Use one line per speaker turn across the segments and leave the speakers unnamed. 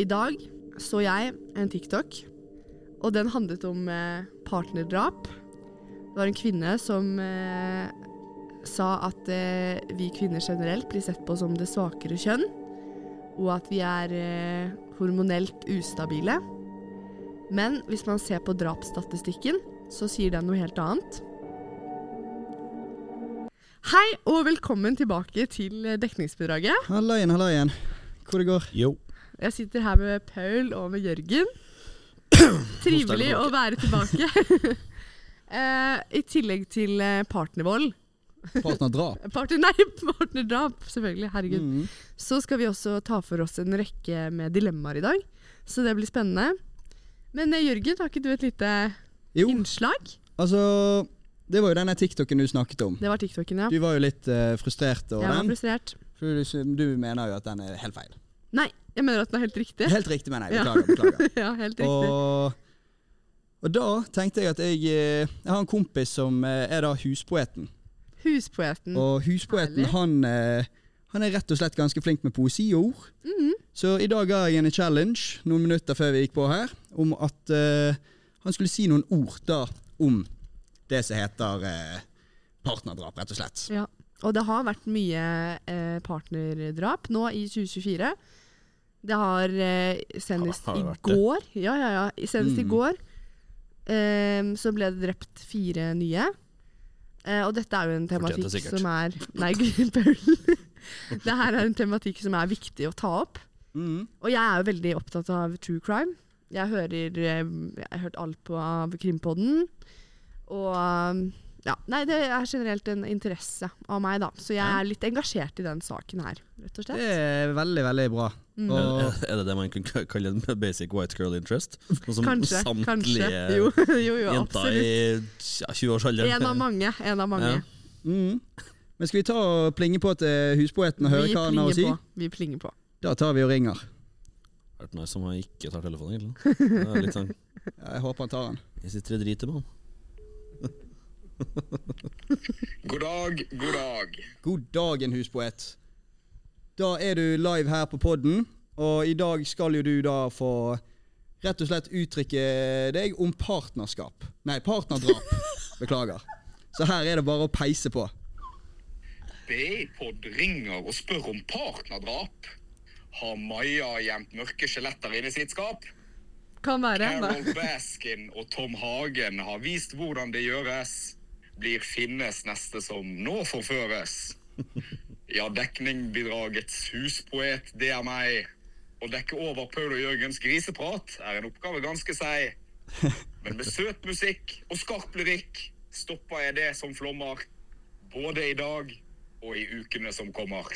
I dag så jeg en TikTok, og den handlet om eh, partnerdrap. Det var en kvinne som eh, sa at eh, vi kvinner generelt blir sett på som det svakere kjønn, og at vi er eh, hormonelt ustabile. Men hvis man ser på drapsstatistikken, så sier den noe helt annet. Hei og velkommen tilbake til eh, Dekningsbidraget.
Hallaien, hallaien. Hvor det går?
Jo.
Jeg sitter her med Paul og med Jørgen. Trivelig å være tilbake. Eh, I tillegg til eh, partnervold
Partnerdrap.
Partner, Nei, partnerdrap, selvfølgelig. Herregud.
Mm.
Så skal vi også ta for oss en rekke med dilemmaer i dag. Så det blir spennende. Men eh, Jørgen, har ikke du et lite
Jo,
innslag?
altså Det var jo denne TikToken du snakket om.
Det var TikToken, ja.
Du var jo litt eh, frustrert
Jeg
over
var
den.
frustrert.
For du, sy- du mener jo at den er helt feil.
Nei, jeg mener at den er helt riktig.
Helt riktig, mener jeg.
Ja.
Beklager. beklager.
ja, helt riktig.
Og, og da tenkte jeg at jeg eh, Jeg har en kompis som eh, er da huspoeten.
Huspoeten.
Og huspoeten,
Mm. Herlig.
han, eh, han er rett og slett ganske flink med poesi og ord.
Mhm.
Så i dag ga jeg henne en challenge noen minutter før vi gikk på her, om at eh, han skulle si noen ord da om det som heter eh, partnerdrap, rett og slett.
Ja. Og det har vært mye eh, partnerdrap nå i 2024. Det har eh, senest
Har- har det vært
i
det?
går Ja, ja, ja. i- Senest i
Mm.
går eh, så ble det drept fire nye. Eh, og dette er jo en
Fortjente
tematikk
sikkert.
som er Nei, gud, Paul. det her er en tematikk som er viktig å ta opp.
Mhm.
Og jeg er jo veldig opptatt av true crime. Jeg hører eh, Jeg har hørt alt på av Krimpodden. Og um, ja, Nei, det er generelt en interesse av meg, da. Så jeg
Ja.
er litt engasjert i den saken her, rett og slett.
Det er veldig, veldig bra.
Mm.
Er,
Og,
eh, er- er det det man kan k- kalle en basic white girl interest? Noe som
Kanskje. kanskje.
samtlige
Jo, jo, jo
jenter
absolutt.
i tj- 20-årsalderen
En av mange. En av mange.
Ja.
Mhm. Men skal vi ta og plinge på til huspoeten og høre
Vi
hva han har
plinger
å si?
på. Vi plinger på.
Da tar vi og ringer.
Vært meg som har ikke tar telefonen, egentlig. Det er litt sånn
Ja, Jeg håper han tar den.
Jeg sitter og driter med han.
God dag, god dag.
God dagen, huspoet. Da er du live her på podden, og i dag skal jo du da få rett og slett uttrykke deg om partnerskap. Nei, partnerdrap. Beklager. Så her er det bare å peise på.
BI-pod ringer og spør om partnerdrap. Har Maja gjemt mørke skjeletter inne i sitt skap?
Kan være. Da.
Carol Baskin og Tom Hagen har vist hvordan det gjøres. Blir Finnes neste som nå forføres? Ja, dekningbidragets huspoet, det er meg. Å dekke over Paul og Jørgens griseprat er en oppgave ganske seig. Men med søt musikk og skarp lyrikk stopper jeg det som flommer. Både i dag og i ukene som kommer.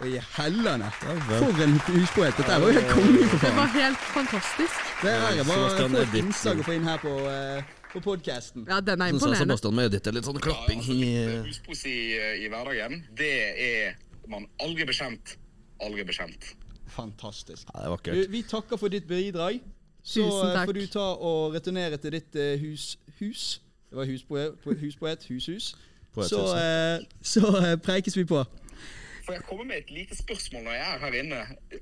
Og i hellene! For en huspoet! Dette var jo helt konge, for
Det
faen!
var helt fantastisk.
Det her er bare
Sebastian
få et
Edith.
innslag å få inn her på, eh, på podkasten.
Ja, den er
Så sa
imponerende.
Sebastian med Edith er litt sånn klapping i
Ja, altså, Huspoesi i hverdagen, det er man aldri bekjent. Aldri bekjent.
Fantastisk.
Ja, det er
Du,
vakkert.
vi takker for ditt bidrag. Så
Tusen
eh,
takk.
får du ta og returnere til ditt eh, hus, hus. e, Det var huspoet, po- huspoet hushus.
Poet,
så
huset.
eh, så eh, preikes vi på.
Får jeg komme med et lite spørsmål når jeg er her inne?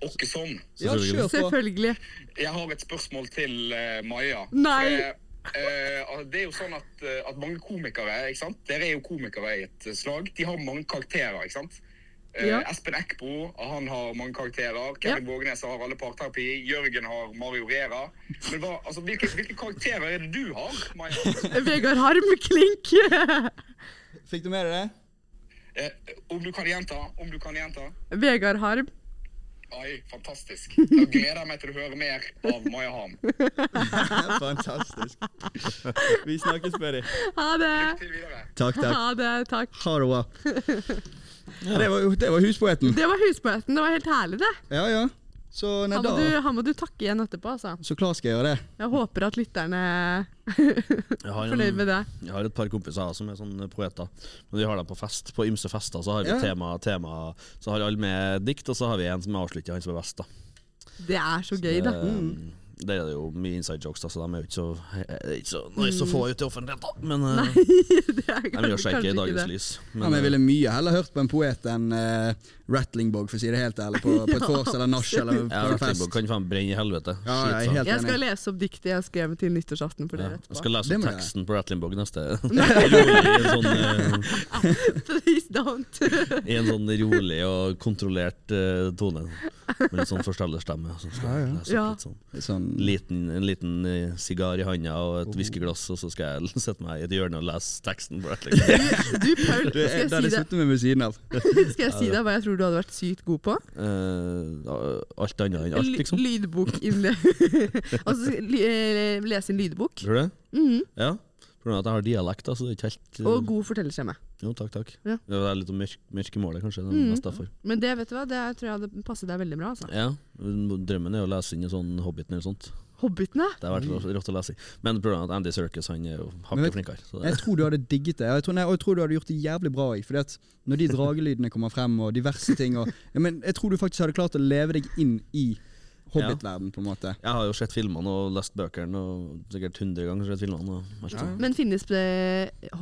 Åkke sånn.
Ja,
Selvfølgelig.
kjør på.
Selvfølgelig.
Jeg har et spørsmål til eh, Maja.
Nei.
Eh, eh, al- det er jo sånn at, eh, at mange komikere, ikke sant? Dere er jo komikere i et eh, slag. De har mange karakterer, ikke sant? Eh,
Ja.
Espen Eckbo han har mange karakterer.
Ja.
Kevin Vågenes har alle parterapi. Jørgen har Mario Rera. Men hva, altså, hvilke, hvilke karakterer er det du har, Maja?
Vegard Harm, klink!
Fikk du med deg det?
Eh, om du kan gjenta, om du kan gjenta.
Vegard Harm.
Ai, fantastisk. Da gleder jeg meg til å høre mer av Maja Ham. Lykke
Fantastisk. Vi snakkes med deg.
Ha det!
til videre.
Takk, takk.
Ha det, takk.
Ha det bra. Det, var, jo- det var huspoeten.
Det var huspoeten. Det var helt herlig, det.
Ja, ja. Så nei,
Han må,
da
du, han må du takke igjen etterpå, altså.
Så klart skal jeg gjøre det.
Jeg håper at lytterne
Jeg
er
har,
fornøyd
en,
med det.
jeg har et par kompiser som er sånne poeter. Men vi har dem på fest. På ymse fester så har vi
Ja.
tema, tema Så har alle med dikt, og så har vi en som avslutter, han som er best, da.
Mm. Det er så gøy, det.
Eh, Der er det jo mye inside jokes, da, så de er jo ikke så, eh, er ikke så nice å få ut i offentligheten. Men eh,
Mm. Nei, det er
de gjør seg ikke i dagens
det.
lys.
Ja,
eh,
men jeg ville mye heller hørt på en poet enn eh, Rattlingborg, for å si det helt ærlig, på, på et vors eller nach eller
ja,
på en fest.
Rattlingborg kan faen brenne i helvete.
Ja,
Shit,
jeg
sant.
er helt
Jeg skal
enig.
lese opp diktet jeg skrev til nyttårsaften for
Ja,
dere
jeg skal
etterpå.
lese
Det
opp
må jeg.
teksten på Rattlingborg neste. rolig, en, sånn,
Please don't.
eh, I en sånn rolig og kontrollert eh, tone. Med litt sånn forstellerstemme. Så skal jeg lese
Ja.
opp litt sånn.
Sånn,
liten, en liten eh, sigar i handa og
Oh.
et whiskyglass, og så skal jeg sette meg i et hjørne og lese teksten. på Rattlingborg.
Du, Paul, skal
det er
jeg
det
si
jeg
deg,
slutter med ved siden av.
skal jeg si deg hva jeg tror du hadde vært sykt god på?
Eh, alt annet enn alt,
Ly-
liksom.
Lydbokinnle... altså ly- eh, lese en lydbok.
Tror du det?
Mhm.
Ja. Problemet er at jeg har dialekt, da, så det er ikke helt eh,
Og god fortellerstemme.
Jo, takk, takk.
Ja. Mm.
Det er litt om mørk, mørkemålet, kanskje. Det er mest derfor.
Men det vet du hva, det tror jeg hadde passet deg veldig bra. Altså.
Ja. Drømmen er jo å lese inn i sånn Hobbiten eller sånt.
Hobbitene?
Det har vært rå- rått å lese i. Men problemet er at Andy Circus han er jo
Men
hakket
vet-
flinkere. Så det,
Jeg tror du hadde digget det, og jeg tror, nei, og jeg tror du hadde gjort det jævlig bra. i, Fordi at Når de dragelydene kommer frem, og diverse ting og, ja, men Jeg tror du faktisk hadde klart å leve deg inn i Hobbit-verden, på en måte.
jeg har jo sett filmene og lest bøkene, og sikkert 100 ganger sett filmene. Og alt sånt.
Men finnes det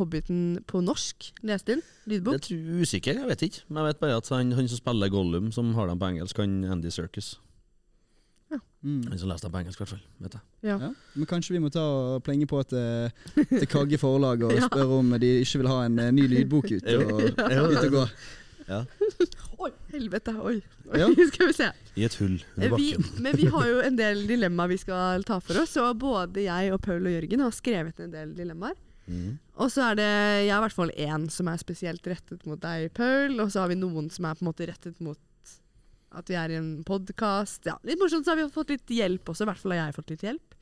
Hobbiten på norsk? Lest inn?
Det
Lydbok?
er tru- usikker, jeg vet ikke. Men jeg vet bare at han, han som spiller Gollum, som har dem på engelsk, han Andy Circus.
Mm.
Han som leste dem på engelsk, i hvert fall. Vet jeg.
Ja.
Ja. Men kanskje vi må ta og plenge på til, til Kagge forlag og
Ja.
spørre om de ikke vil ha en eh, ny lydbok ut og, ut og gå.
Oi, helvete. Oi.
Ja.
oi. Skal vi se.
I et hull under
Vi,
bakken.
men vi har jo en del dilemmaer vi skal ta for oss, og både jeg og Paul og Jørgen har skrevet en del dilemmaer.
Mhm.
Og så er det jeg har i hvert fall én som er spesielt rettet mot deg, Paul, og så har vi noen som er på en måte rettet mot at vi er i en podkast. Ja, litt morsomt, så har vi fått litt hjelp også. I hvert fall har jeg fått litt hjelp.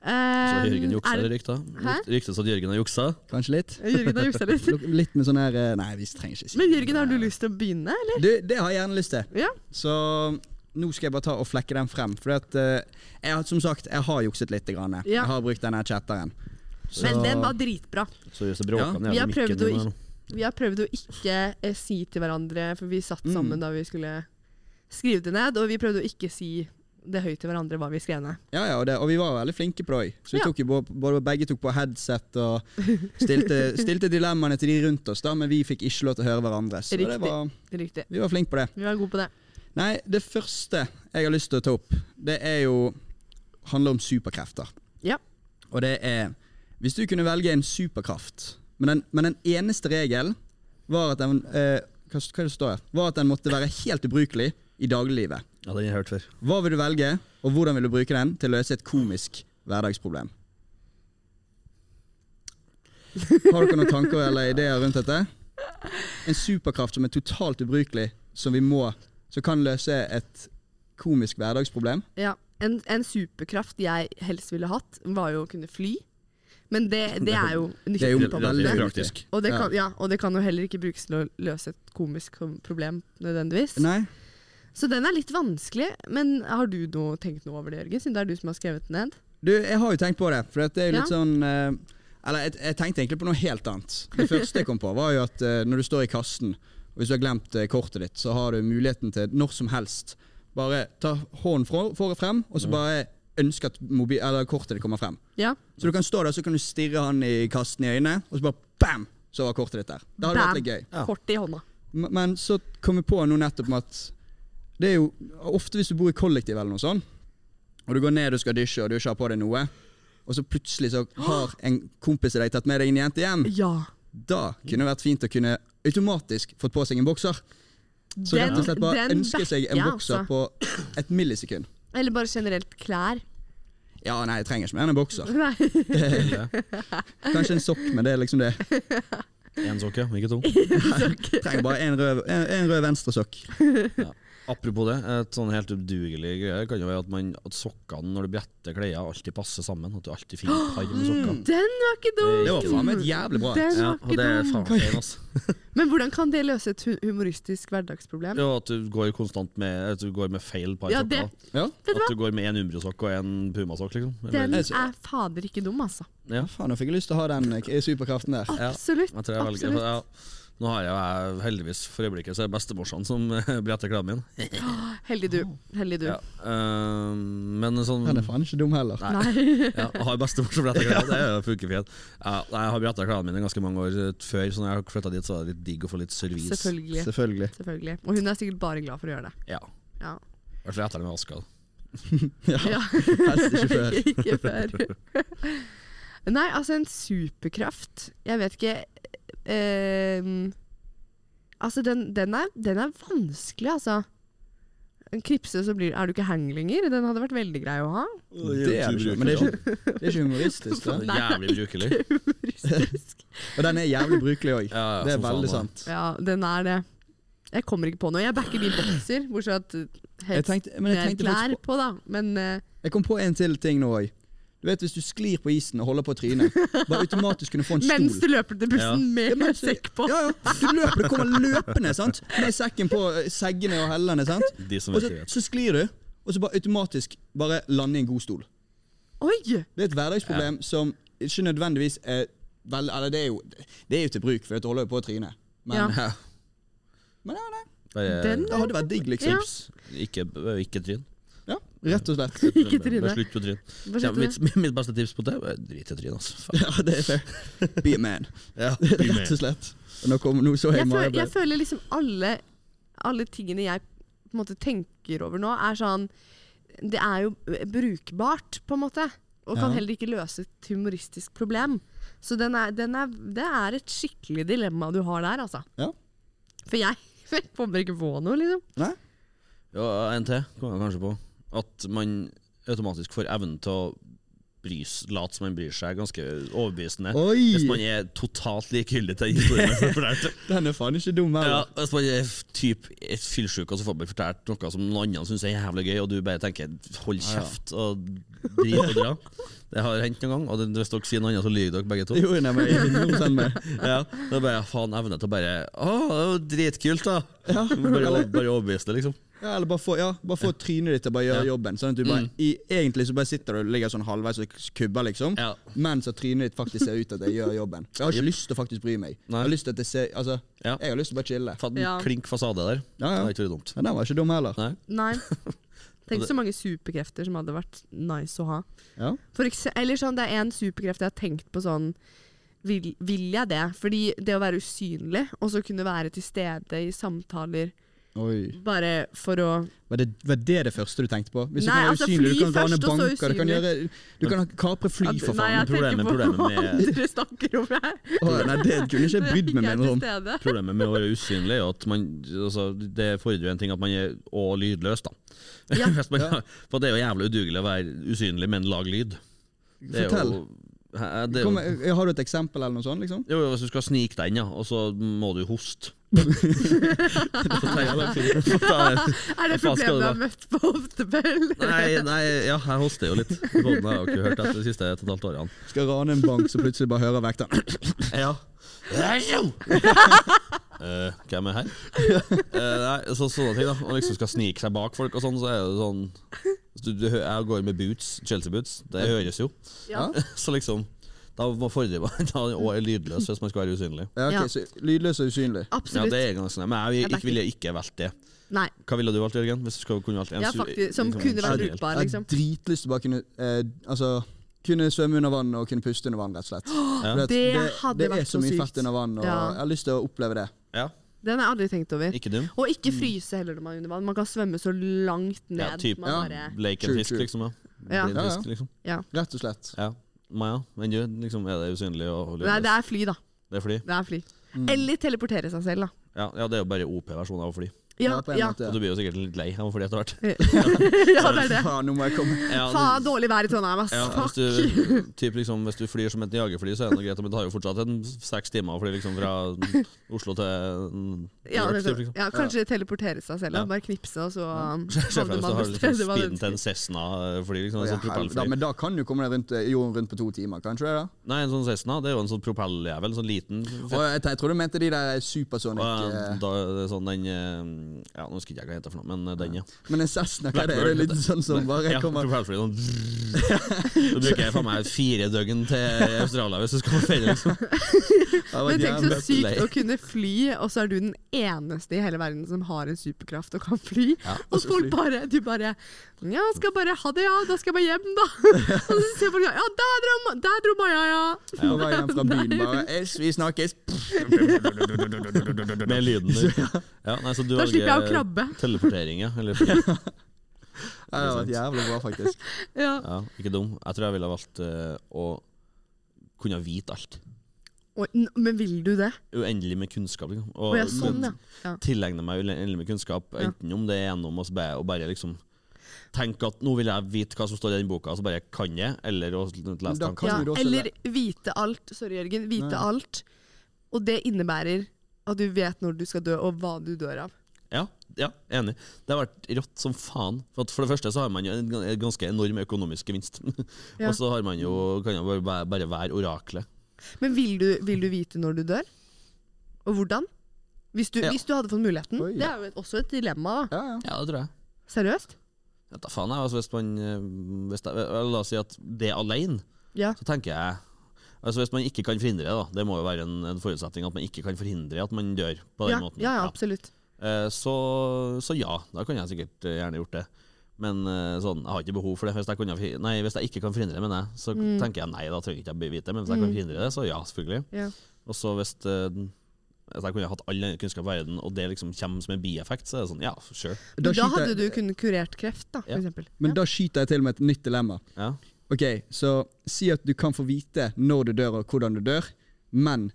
Så
Eh,
Jørgen juksa,
er det-
er det rykta?
Hæ?
Ryktes at Jørgen har juksa?
Kanskje litt?
Jørgen har juksa litt.
Luk- Litt med sånn her eh, Nei, vi trenger ikke si
Men Jørgen, har du lyst til å begynne? Eller?
Du, det har jeg gjerne lyst til.
Ja.
Så nå skal jeg bare ta og flekke den frem. For at, eh, jeg, har- som sagt, jeg har jukset litt. Grann.
Ja.
Jeg har brukt denne chatteren. Så-
Men den var dritbra.
Så gjøres det bråka
Ja.
ned
Vi
i
har
mikken.
prøvd å
din her nå.
Vi har prøvd å ikke eh, si til hverandre, for vi satt
Mm.
sammen da vi skulle skrive det ned, og vi prøvde å ikke si det høyt til hverandre hva vi skrev ned.
Ja, ja, og, det, og vi var veldig flinke på det òg. Så vi
Ja.
tok jo både, både begge tok på headset og stilte, stilte dilemmaene til de rundt oss, da, men vi fikk ikke lov til å høre hverandre. Så det
Riktig.
var,
Det er Riktig.
vi var flinke på det.
Vi var gode på det.
Nei, det første jeg har lyst til å ta opp, det er jo handler om superkrefter.
Ja.
Og det er Hvis du kunne velge en superkraft, men den, men den eneste regelen var at den eh, hva, hva er det som står her? Var at den måtte være helt ubrukelig i dagliglivet.
Ja, den har jeg hørt før.
Hva vil du velge, og hvordan vil du bruke den til å løse et komisk hverdagsproblem? Har dere noen tanker eller ideer rundt dette? En superkraft som er totalt ubrukelig, som vi må Som kan løse et komisk hverdagsproblem?
Ja. En, en superkraft jeg helst ville hatt, var jo å kunne fly. Men det, det er jo nyttig.
Det er jo
på en måte.
veldig
praktisk.
praktisk.
og, det kan, ja, og det kan jo heller ikke brukes til å løse et komisk problem, nødvendigvis.
Nei?
Så den er litt vanskelig. Men har du noe, tenkt noe over det, Jørgen? Siden det er du som har skrevet den ned.
Du, jeg har jo tenkt på det, for at det er jo litt
Ja.
sånn eh, Eller jeg, jeg tenkte egentlig på noe helt annet. Det første jeg kom på, var jo at eh, når du står i kassen, og hvis du har glemt eh, kortet ditt, så har du muligheten til når som helst bare ta hånden fra- for og frem, og så bare ønske at mobi eller kortet ditt kommer frem.
Ja.
Så du kan stå der, så kan du stirre han i kassen i øynene, og så bare bam! Så var kortet ditt der. Det hadde vært litt gøy.
Ja.
Kort i hånda.
M- Men så kom jeg på noe nettopp med at det er jo ofte hvis du bor i kollektiv eller noe sånt, og du går ned og skal dusje, og du ikke har på deg noe, og så plutselig så har en kompis i deg tatt med deg en jente hjem,
Ja.
da kunne det vært fint å kunne automatisk fått på seg en bokser. Så
Den-
rett og slett bare
den
ønske seg en
backer jeg,
bokser
altså.
på et millisekund.
Eller bare generelt klær.
Ja, nei, jeg trenger ikke mer enn en bokser.
Nei.
Kanskje en sokk, men det er liksom det.
Én sokke, ikke to.
Jeg trenger bare en rød, en, en rød venstre sokk.
Apropos det, et sånn helt udugelig greie kan jo være at, man, at sokkene når du bretter klærne, alltid passer sammen. At du alltid finner et par med sokker.
Den var ikke dum!
Det var faen meg et jævlig bra.
Den
Ja,
var
og
ikke
det er
dum.
faen feil, altså.
Men hvordan kan det løse et hu- humoristisk hverdagsproblem?
Ja, at du går konstant med, at du går med feil par
Ja, det,
sokker.
Ja,
vet du
At
hva?
du går med en Umbro-sokk og en Puma-sokk, liksom.
Den
Eller,
er fader ikke dum, altså.
ja,
faen, nå fikk jeg lyst til å ha den eh, superkraften der.
Ja.
Absolutt.
jeg tror jeg velger
absolutt.
ja, Nå har jeg, jeg heldigvis for øyeblikket så er det bestemorsan som bretter klemmen min.
Heldig du. Heldig du.
Ja. eh, men sånn
Han er faen ikke dum heller.
Nei.
Nei.
ja, jeg har bestemor som bretter klær, det funker fint. Ja, nei, jeg har bretta klærne mine ganske mange år eh, før, så når jeg flytta dit, så var det litt digg å få litt servis.
Selvfølgelig.
Selvfølgelig.
Selvfølgelig. Og hun er sikkert bare glad for å gjøre det.
Ja,
Ja.
I hvert fall etter den vaska.
Ja.
Helst ikke før.
ikke før. Nei, altså en superkraft. Jeg vet ikke eh, Altså, den, den, er, den er vanskelig, altså. En knipse, så blir, er du ikke hang lenger. Den hadde vært veldig grei å ha.
Det er det ikke, men det er ikke, det er ikke humoristisk. Det.
Nei,
Jævlig brukelig.
Humoristisk.
Og den er jævlig brukelig òg.
Ja, ja,
Det er
som faen,
veldig
da.
sant.
Ja, den er det. Jeg kommer ikke på noe. Jeg backer min bokser, bortsett fra
Jeg
at eh, helst
tenkte, men jeg
det er
tenkte
klær
faktisk
på, da. Men eh,
på Jeg kom på en til ting nå òg. Du vet hvis du sklir på isen og holder på trynet, bare automatisk kunne få en
mens
stol.
du løper til bussen
Ja,
med
mens du-
sekk på.
Ja, ja. Du løper, det kommer løpende, sant? Med sekken på eh, seggene og hellene, sant?
De som
Og så,
ikke vet.
så sklir du, og så bare automatisk bare lande i en god stol.
Oi!
Det er et hverdagsproblem som ikke nødvendigvis er vel, Eller det er jo, det er jo til bruk, for at du holder jo på trynet. Men,
Ja.
Ja.
men ja, nei,
Det er
Den-
det hadde vært digg, liksom.
Ja.
tips. Ikke, ikke tryn.
Ja, rett og slett.
Ikke tryne.
Bare Slutt på tryn.
Hva
Ja,
skjedde?
mitt, mitt beste tips på det er drit i tryn, altså. Faen.
Ja, det er fair. Be a man,
Ja,
rett og slett. Nå, kom, nå så jeg
jeg, føler,
Maja
jeg føler liksom alle, alle tingene jeg på en måte tenker over nå, er sånn Det er jo brukbart, på en måte. Og kan
Ja.
heller ikke løse et humoristisk problem. Så den er, den er, det er et skikkelig dilemma du har der, altså.
Ja.
For jeg, jeg kommer ikke på noe, liksom.
Nei?
Ja, en til kom jeg kanskje på. At man automatisk får evnen til å bry s- late som man bryr seg, ganske overbevisende.
Oi!
Hvis man er totalt likegyldig til historien. man får fortalt.
Den er faen ikke dum
Ja,
heller.
hvis man er f- typ et fyllsjuk og så får man fortalt noe som noen andre syns er jævlig gøy, og du bare tenker 'hold kjeft' og drit og dra. Det har hendt noen gang, og det- hvis dere sier noe annet, så lyver dere begge to.
Jo, nei, men jeg er 100% med.
Ja, det er bare faen evne til å bare Å, det var jo dritkult, da! Bare, bare overbevise det, liksom.
Ja, eller bare få, ja, bare få trynet ditt til å bare gjøre jobben. Sånn at du bare, i, egentlig så bare sitter du og ligger sånn halvveis og kubber, liksom.
Ja.
Mens at trynet ditt faktisk ser ut til at jeg gjør jobben. Jeg har ikke lyst til å faktisk bry meg. Jeg
Nei.
har lyst til at det ser, altså,
Ja.
jeg har lyst til å bare chille.
Fatt en
Ja.
klink fasade der.
Ja, ja.
Det har ikke vært dumt.
Ja, den var ikke dum heller.
Nei.
Nei. Altså Tenk så
det-
mange superkrefter som hadde vært nice å ha.
Ja.
For ekse- eller sånn, det er en superkreft jeg har tenkt på sånn vil, vil jeg det? Fordi det å være usynlig, og så kunne være til stede i samtaler
Oi.
bare for å
Var det, var det det første du tenkte på? Hvis du
Nei,
kan være
altså,
usynlig,
fly
du kan rane
først, og så
banker, du kan, gjøre, du kan kapre fly,
At-
for
Nei,
faen.
jeg tenker
Problemet-
på
problemet
hva
med-
dere snakker om her.
Å, nei, det kunne jeg ikke brydd meg
Jeg er
sånn?
mindre om.
til stede.
Problemet med å være usynlig er jo at man altså, Det fordrer jo en ting at man er og lydløs, da.
Ja.
Hvis man, For det er jo jævlig udugelig å være usynlig, men lage lyd. Det er
Fortell.
jo, Hæ, det er
Kom,
jo,
eh, har du et eksempel eller noe sånt, liksom?
jo, hvis du skal snike deg inn, ja, og så må du hoste.
Er det
Hva faen
problemet
skal
du
det
har møtt på ofte, Bell?
Nei, nei, ja, jeg hoster jo litt. Båten har jeg jo ikke hørt etter de siste et og et halvt årene.
Skal rane en bank, så plutselig bare hører vekteren.
Ja. Eh, hvem er her? Eh, nei, så, sånne ting da Og liksom skal snike seg bak folk og sånn, så er det sånn Hvis du, du, hø- Jeg går med boots, Chelsea-boots, det høres jo.
Ja.
Så liksom Da må fordre man da er man også lydløs hvis man skal være usynlig.
Ja, ok,
Ja.
så lydløs og usynlig.
Ja,
Absolutt.
det er ganske sånn, Men jeg, vil-
Jeg backer.
ikke, ville ikke valgt det.
Nei.
Hva ville du valgt, Jørgen? Hvis du skulle kunne valgt en
Ja,
su-
faktisk, som
liksom,
kunne vært
generell?
brukbar,
Jeg
liksom.
har dritlyst til å bare kunne eh, Altså kunne svømme under vann og kunne puste under vann, rett og slett. For at
det hadde
det
vært
er så
så
mye
sykt.
fett under vann, og
Ja.
jeg har lyst til å oppleve det.
Ja,
Den har jeg aldri tenkt over.
ikke dum.
Og ikke fryse heller når man er under vann. Man kan svømme så langt ned.
Ja, typ.
man
Ja.
bare,
Lake
True,
and fisk,
true.
liksom. Ja.
Ja.
Blind
Ja, ja.
Fisk, liksom.
ja.
Rett og slett.
ja. Maja, men du, liksom, er det usynlig og lydløs?
Nei, det er fly, da.
Det er fly?
Det er fly.
Mm.
Eller teleportere seg selv, da.
Ja, ja, det er jo bare OP-versjonen av å fly.
Ja,
på en
ja.
måte.
Og du blir jo sikkert litt lei av å fly etter hvert.
ja det er det.
Faen, nå må jeg komme.
Ja,
Faen, dårlig vær i Trondheim, ass.
Ja, hvis,
Fuck.
du, typ liksom, hvis du flyr som et jagerfly, så er det noe greit, men det tar jo fortsatt en seks timer å fly liksom, fra Oslo til mm, New
Ja,
York.
det,
typ, liksom.
ja, kanskje teleportere seg selv. Da.
Ja.
Bare knipse, og så um,
Se for
havner man
deg hvis du har
det
liksom,
stedet man
speeden til
ønsker.
en Cessna-fly. Liksom, en
Ja, helvete, da,
sånn propellfly.
men da kan du komme deg rundt eh, jorden rundt på to timer, kan ikke det? da?
Nei, en sånn Cessna det er jo en sånn propelljævel, en sånn liten
Og jeg, jeg tror du mente de der supersonic
Og, eh,
eh,
da, er det sånn den eh, Ja, nå husker ikke jeg hva den heter for noe, men eh, den, ja.
Men en Cessna, hva er det? Det er litt sånn som bare
Ja,
kommer
propellfly, sånn Så bruker jeg faen meg fire døgn til Australia hvis du skal på ferie, liksom.
Men
Ja, det var
tenk så
jævlig.
sykt
lei.
å kunne fly, og så er du den eneste i hele verden som har en superkraft og kan fly. og
så
folk
fly.
bare Du bare Ja, skal bare ha det, ja. Da skal jeg bare hjem, da. og så ser folk Ja, der dro, Ma- der dro Maja, ja.
På vei hjem fra byen bare «Es, Vi snakkes!
Med lyden der. Ja, nei, så du
Da slipper jeg å
velger
krabbe.
Teleportering, ja. Eller,
Ja, Det hadde vært jævlig bra, faktisk.
ja.
ja, ikke dum. Jeg tror jeg ville ha valgt eh, å kunne vite alt.
Oi, n- men vil du det?
Uendelig med kunnskap. Liksom.
Å
Og
ja, sånn, ja. ja.
tilegne meg uendelig med kunnskap,
Ja.
enten om det er gjennom å bare, å bare liksom tenke at nå vil jeg vite hva som står i den boka, så bare kan jeg, eller å lese
Men da
tanker.
kan
ja.
du da også
Eller
le-
vite alt. Sorry, Jørgen. Vite
Nei.
alt. Og det innebærer at du vet når du skal dø, og hva du dør av.
Ja, ja, enig. Det har vært rått som faen. For, at for det første så har man jo en gan- en ganske enorm økonomisk gevinst.
Ja.
Og så har man jo, kan jo bare, bare- bare være oraklet.
Men vil du, vil du vite når du dør? Og hvordan? Hvis du,
Ja.
hvis du hadde fått muligheten.
Oi, ja.
Det er jo et, også et dilemma. da.
Ja, ja.
Ja, det tror jeg.
Seriøst?
Ja, da faen jeg, altså, hvis man eh, hvis det, La oss si at det alene,
Ja.
så tenker jeg Altså Hvis man ikke kan forhindre det, da, det må jo være en, en forutsetning at man ikke kan forhindre at man dør på den
Ja,
måten.
ja, ja, absolutt.
Eh, Så, så ja, da kan jeg sikkert eh, gjerne gjort det. Men eh, sånn, jeg har ikke behov for det. Hvis jeg, kunne, forhi- nei, hvis jeg ikke kan forhindre det, mener jeg, så
Mm.
tenker jeg nei, da trenger ikke jeg ikke vite det. Men hvis jeg kan forhindre det, så ja, selvfølgelig.
Ja.
Og så hvis, eh, den- hvis jeg kunne hatt all den kunnskap i verden, og det liksom kommer som en bieffekt, så er det sånn ja, sure.
Men Da,
Da skyter
hadde
jeg-
du kunnet kurert kreft, da, for
Ja.
eksempel.
Men da skyter jeg til med et nytt dilemma.
Ja.
Ok, så Si at du kan få vite når du dør og hvordan du dør, men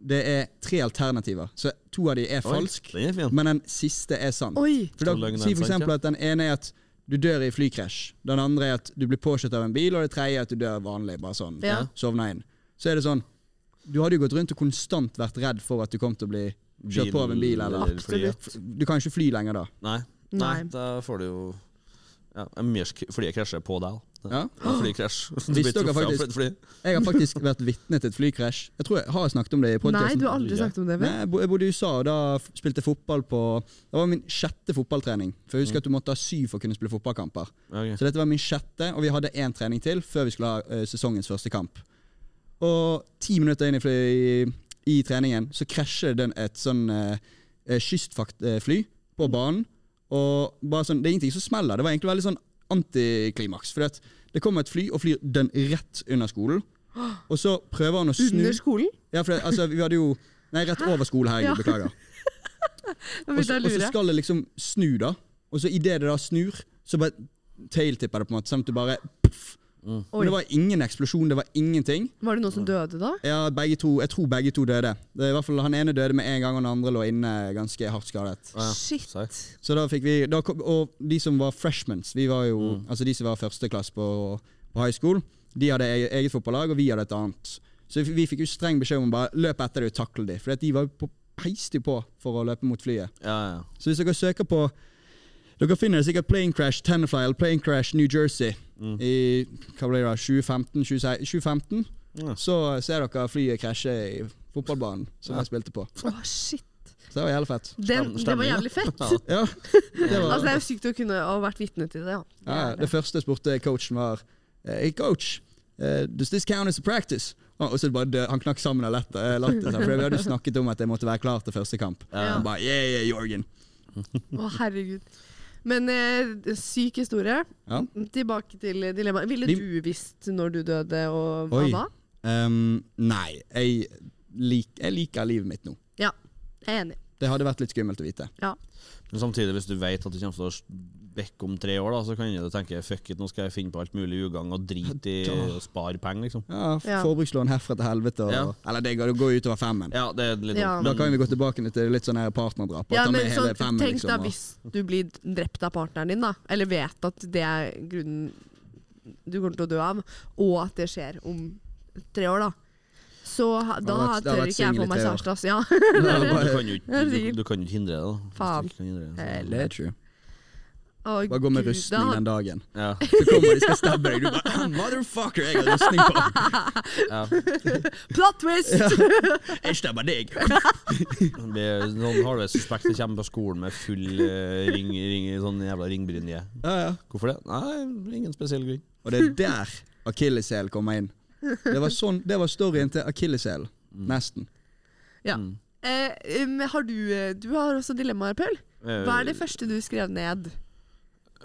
det er tre alternativer. Så to av de er falsk,
Oi, Den er fin.
men den siste er sann.
Oi!
For da,
To løgner,
si for
sant,
eksempel
ja.
at den ene er at du dør i flykrasj. Den andre er at du blir påkjørt av en bil, og det tredje er at du dør vanlig. Bare sånn,
Ja.
sovna inn. Så er det sånn Du hadde jo gått rundt og konstant vært redd for at du kom til å bli kjørt på av en bil, eller
eller fly, ja.
Absolutt.
Du kan ikke fly lenger da.
Nei.
Nei.
Nei, da får du jo ja, en myrsk flyet krasjer på deg. da.
Ja?
Ja, Flykrasj. Du
Visste
blir
dere
truffet av
faktisk-
et fly.
Jeg har faktisk vært vitne til et flykrasj. Jeg tror jeg har jeg snakket om det i
Nei,
podkasten.
du har aldri snakket om det
Nei,
før.
jeg bo- jeg bodde i USA, og da f- spilte jeg fotball på Det var min sjette fotballtrening. For jeg husker at du måtte ha syv for å kunne spille fotballkamper.
Ja, ok.
Så dette var min sjette, og vi hadde én trening til før vi skulle ha eh, sesongens første kamp. Og ti minutter inn i, fly, i treningen så krasjer den et sånn eh, eh, kystvaktfly på banen. Og bare sånn, det er ingenting som smeller. Det var egentlig veldig sånn antiklimaks. For det kommer et fly og flyr den rett under skolen. Og så prøver han å snu
Under skolen?
Ja, for det, altså, vi hadde jo Nei, rett over skolen,
Ja.
herregud, beklager.
Men
Og
da
så, og så
lurer jeg.
skal det liksom snu, da. Og så idet det da snur, så bare tailtipper det, på en måte. Sånn at du bare
Oi.
Men det var ingen eksplosjon, det var ingenting.
Var det noen som døde da?
Ja, begge to, jeg tror begge to døde. Det er i hvert fall Han ene døde med en gang, og den andre lå inne ganske hardt skadet.
Ja,
Shit.
sorry.
Så da fikk vi da kom, Og de som var freshments, vi var jo, altså de som var førsteklass på, på high school, de hadde e- eget fotballag, og vi hadde et annet. Så vi, vi fikk jo streng beskjed om å bare løpe etter dem og takle dem. For de var jo på, peiste jo på for å løpe mot flyet.
Ja, ja.
Så hvis dere søker på Dere finner sikkert Plane Crash Tenafly eller Plane Crash New Jersey i hva ble det da, 2015, 2016 2015
Ja.
så ser dere flyet krasje i fotballbanen som jeg spilte på.
Å, shit.
Så det var jævlig fett.
Den, det var jævlig fett.
Ja.
Ja, det var
Altså, det er jo sykt å kunne ha vært vitne til det. Ja.
ja, Det første jeg spurte coachen, var Hey coach, eh, does this count as a practice? Og og så bare dø, Han knakk sammen av lett- eh, latter. seg, For vi hadde jo snakket om at jeg måtte være klar til første kamp.
Ja.
Han bare, yeah, yeah, Jorgen.
Å, herregud. Men eh, syk historie.
Ja.
Tilbake til dilemmaet. Ville
Vi-
du visst når du døde, og hva
Oi.
da?
Ehm, nei, jeg, lik, jeg liker livet mitt nå.
Ja, jeg er enig.
Det hadde vært litt skummelt å vite.
Ja.
Men samtidig, hvis du vet at du kommer til å vekke om tre år, da, så kan du tenke fuck it, nå skal jeg finne på alt mulig ugagn og drite i å spare penger, liksom.
Ja, f-
Ja.
Forbrukslån herfra til helvete. Og,
Ja.
Eller det går, det går jo utover femmen.
Ja, det er litt
Ja.
sånn. Da
dumt,
kan
men
vi gå tilbake til litt sånn her partnerdrap. og
Ja,
ta med
men
hele
sånn,
femmen,
Tenk
liksom,
da
og-
hvis du blir drept av partneren din, da. Eller vet at det er grunnen du kommer til å dø av, og at det skjer om tre år, da. Så ha- da
vært- det har
tør ikke
vært
jeg få
single i
meg
tre år.
kjæreste, ass. Ja.
du kan jo ikke,
Ja,
du,
sikkert.
du kan jo ikke hindre det, da. Hvis
Faen.
du ikke kan hindre det, så-
Det er true.
Å,
Bare gå med
Gud,
rustning
da-
den dagen.
Ja.
Så kommer de skal stabbe deg, du bare "Ah, Motherfucker, jeg har rustning på!
ja.
Plot twist!
Jeg stabber deg!
Det blir Sånn halvveis suspekt som kommer på skolen med full eh, ring, ring, sånn jævla ringbrynje.
Ja, ja.
Hvorfor det? Nei, ingen spesiell grunn.
Og det er der akilleshæl kommer inn. Det var, sånn, det var storyen til akilleshæl.
Mm.
Nesten.
Ja. Eh, men har du, eh, du har også dilemmaer, Paul. Hva er det
Eh,
første du skrev ned?
Eh,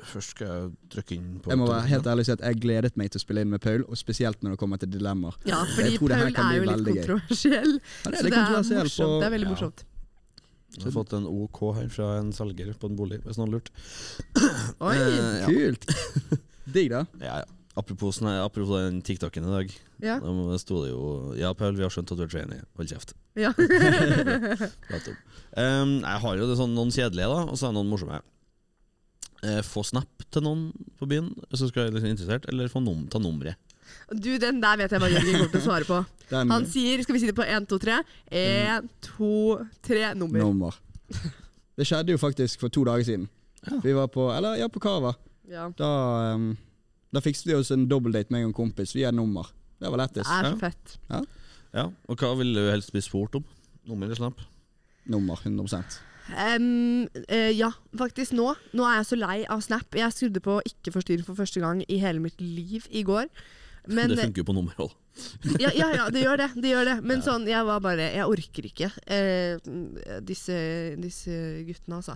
Først skal jeg trykke inn på
Jeg må være helt ærlig og si at jeg gledet meg til å spille inn med Paul, og spesielt når det kommer til dilemmaer.
Ja,
Jeg
fordi
tror
Paul
det her
er
kan
jo
bli
litt
veldig gøy.
kontroversiell.
Han er
så
litt
det er
kontroversiell
morsomt.
på-
Det er veldig
Ja.
morsomt.
Jeg har fått en OK her fra en selger på en bolig, hvis noen har lurt.
Oi!
Eh, ja.
Kult! Digg, da.
Ja, ja. Apropos, sånn her- apropos den TikToken i dag.
Ja.
Da sto det jo Ja, Paul, vi har skjønt at du er trainee. Hold kjeft.
ja.
Nettopp. Ehm, jeg har jo det sånn noen kjedelige, da, og så er det noen morsomme. Eh, få snap til noen på byen, så skal jeg liksom være interessert, eller få num ta nummeret.
Du, den der vet jeg hva Jørgen kommer til å svare på.
Den
Han sier Skal vi si det på én, to, tre? Én, to, tre, nummer.
nummer. Det skjedde jo faktisk for to dager siden. Vi var på Eller ja, på Cava.
Ja.
Da, ehm, da fikset vi oss en dobbeltdate med en kompis. Vi er nummer. Det var
Det
lettest.
er så
Ja.
fett.
Ja, og hva ville du helst bli spurt om? Nummer eller snap?
Nummer, 100
Em, eh, ja, faktisk nå. Nå er jeg så lei av Snap. Jeg skrudde på ikke forstyrr for første gang i hele mitt liv i går. Men
det funker jo på nummer òg.
ja, ja, ja, det gjør det. det, gjør det. Men sånn, jeg var bare Jeg orker ikke eh, disse, disse guttene, altså.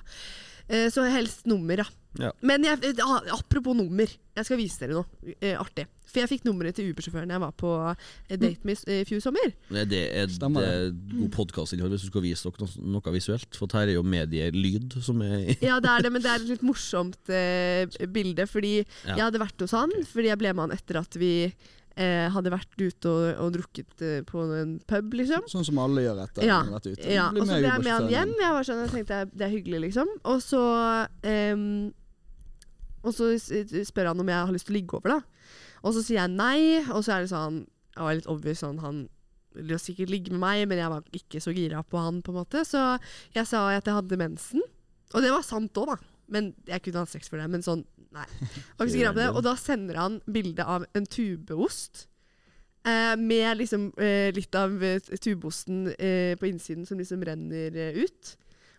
Eh, så helst nummer, ja.
Ja.
Men jeg, eh, ah, apropos nummer, jeg skal vise dere noe eh, artig. For jeg fikk nummeret til Uber-sjåføren jeg var på
Mm.
eh, date med i fjor sommer.
Det det er
Stemmer
det. er
Mm.
god podkastinnhold hvis du skal vise dere noe, noe visuelt. For her er jo medielyd som er
Ja, det er det, men det er et litt morsomt eh, bilde. Fordi
Ja.
jeg hadde vært hos han, fordi jeg ble med han etter at vi eh, hadde vært ute og, og drukket eh, på en pub, liksom.
Sånn som alle gjør etter
Ja,
å ha vært ute.
Ja,
Bli
og så
med
ble jeg med han
Uberstøtten.
hjem. Jeg var sånn, jeg tenkte det er hyggelig, liksom. Og så ehm, Og så s- spør han om jeg har lyst til å ligge over, da. Og så sier jeg nei, og så er det sånn Jeg var litt obvious sånn Han ville jo sikkert ligge med meg, men jeg var ikke så gira på han, på en måte. Så jeg sa at jeg hadde mensen. Og det var sant òg, da. Men jeg kunne hatt sex for det. Men sånn, nei. Var ikke så gira på det. Og da sender han bilde av en tubeost. Eh, med liksom eh, litt av eh, tubeosten eh, på innsiden som liksom renner eh, ut.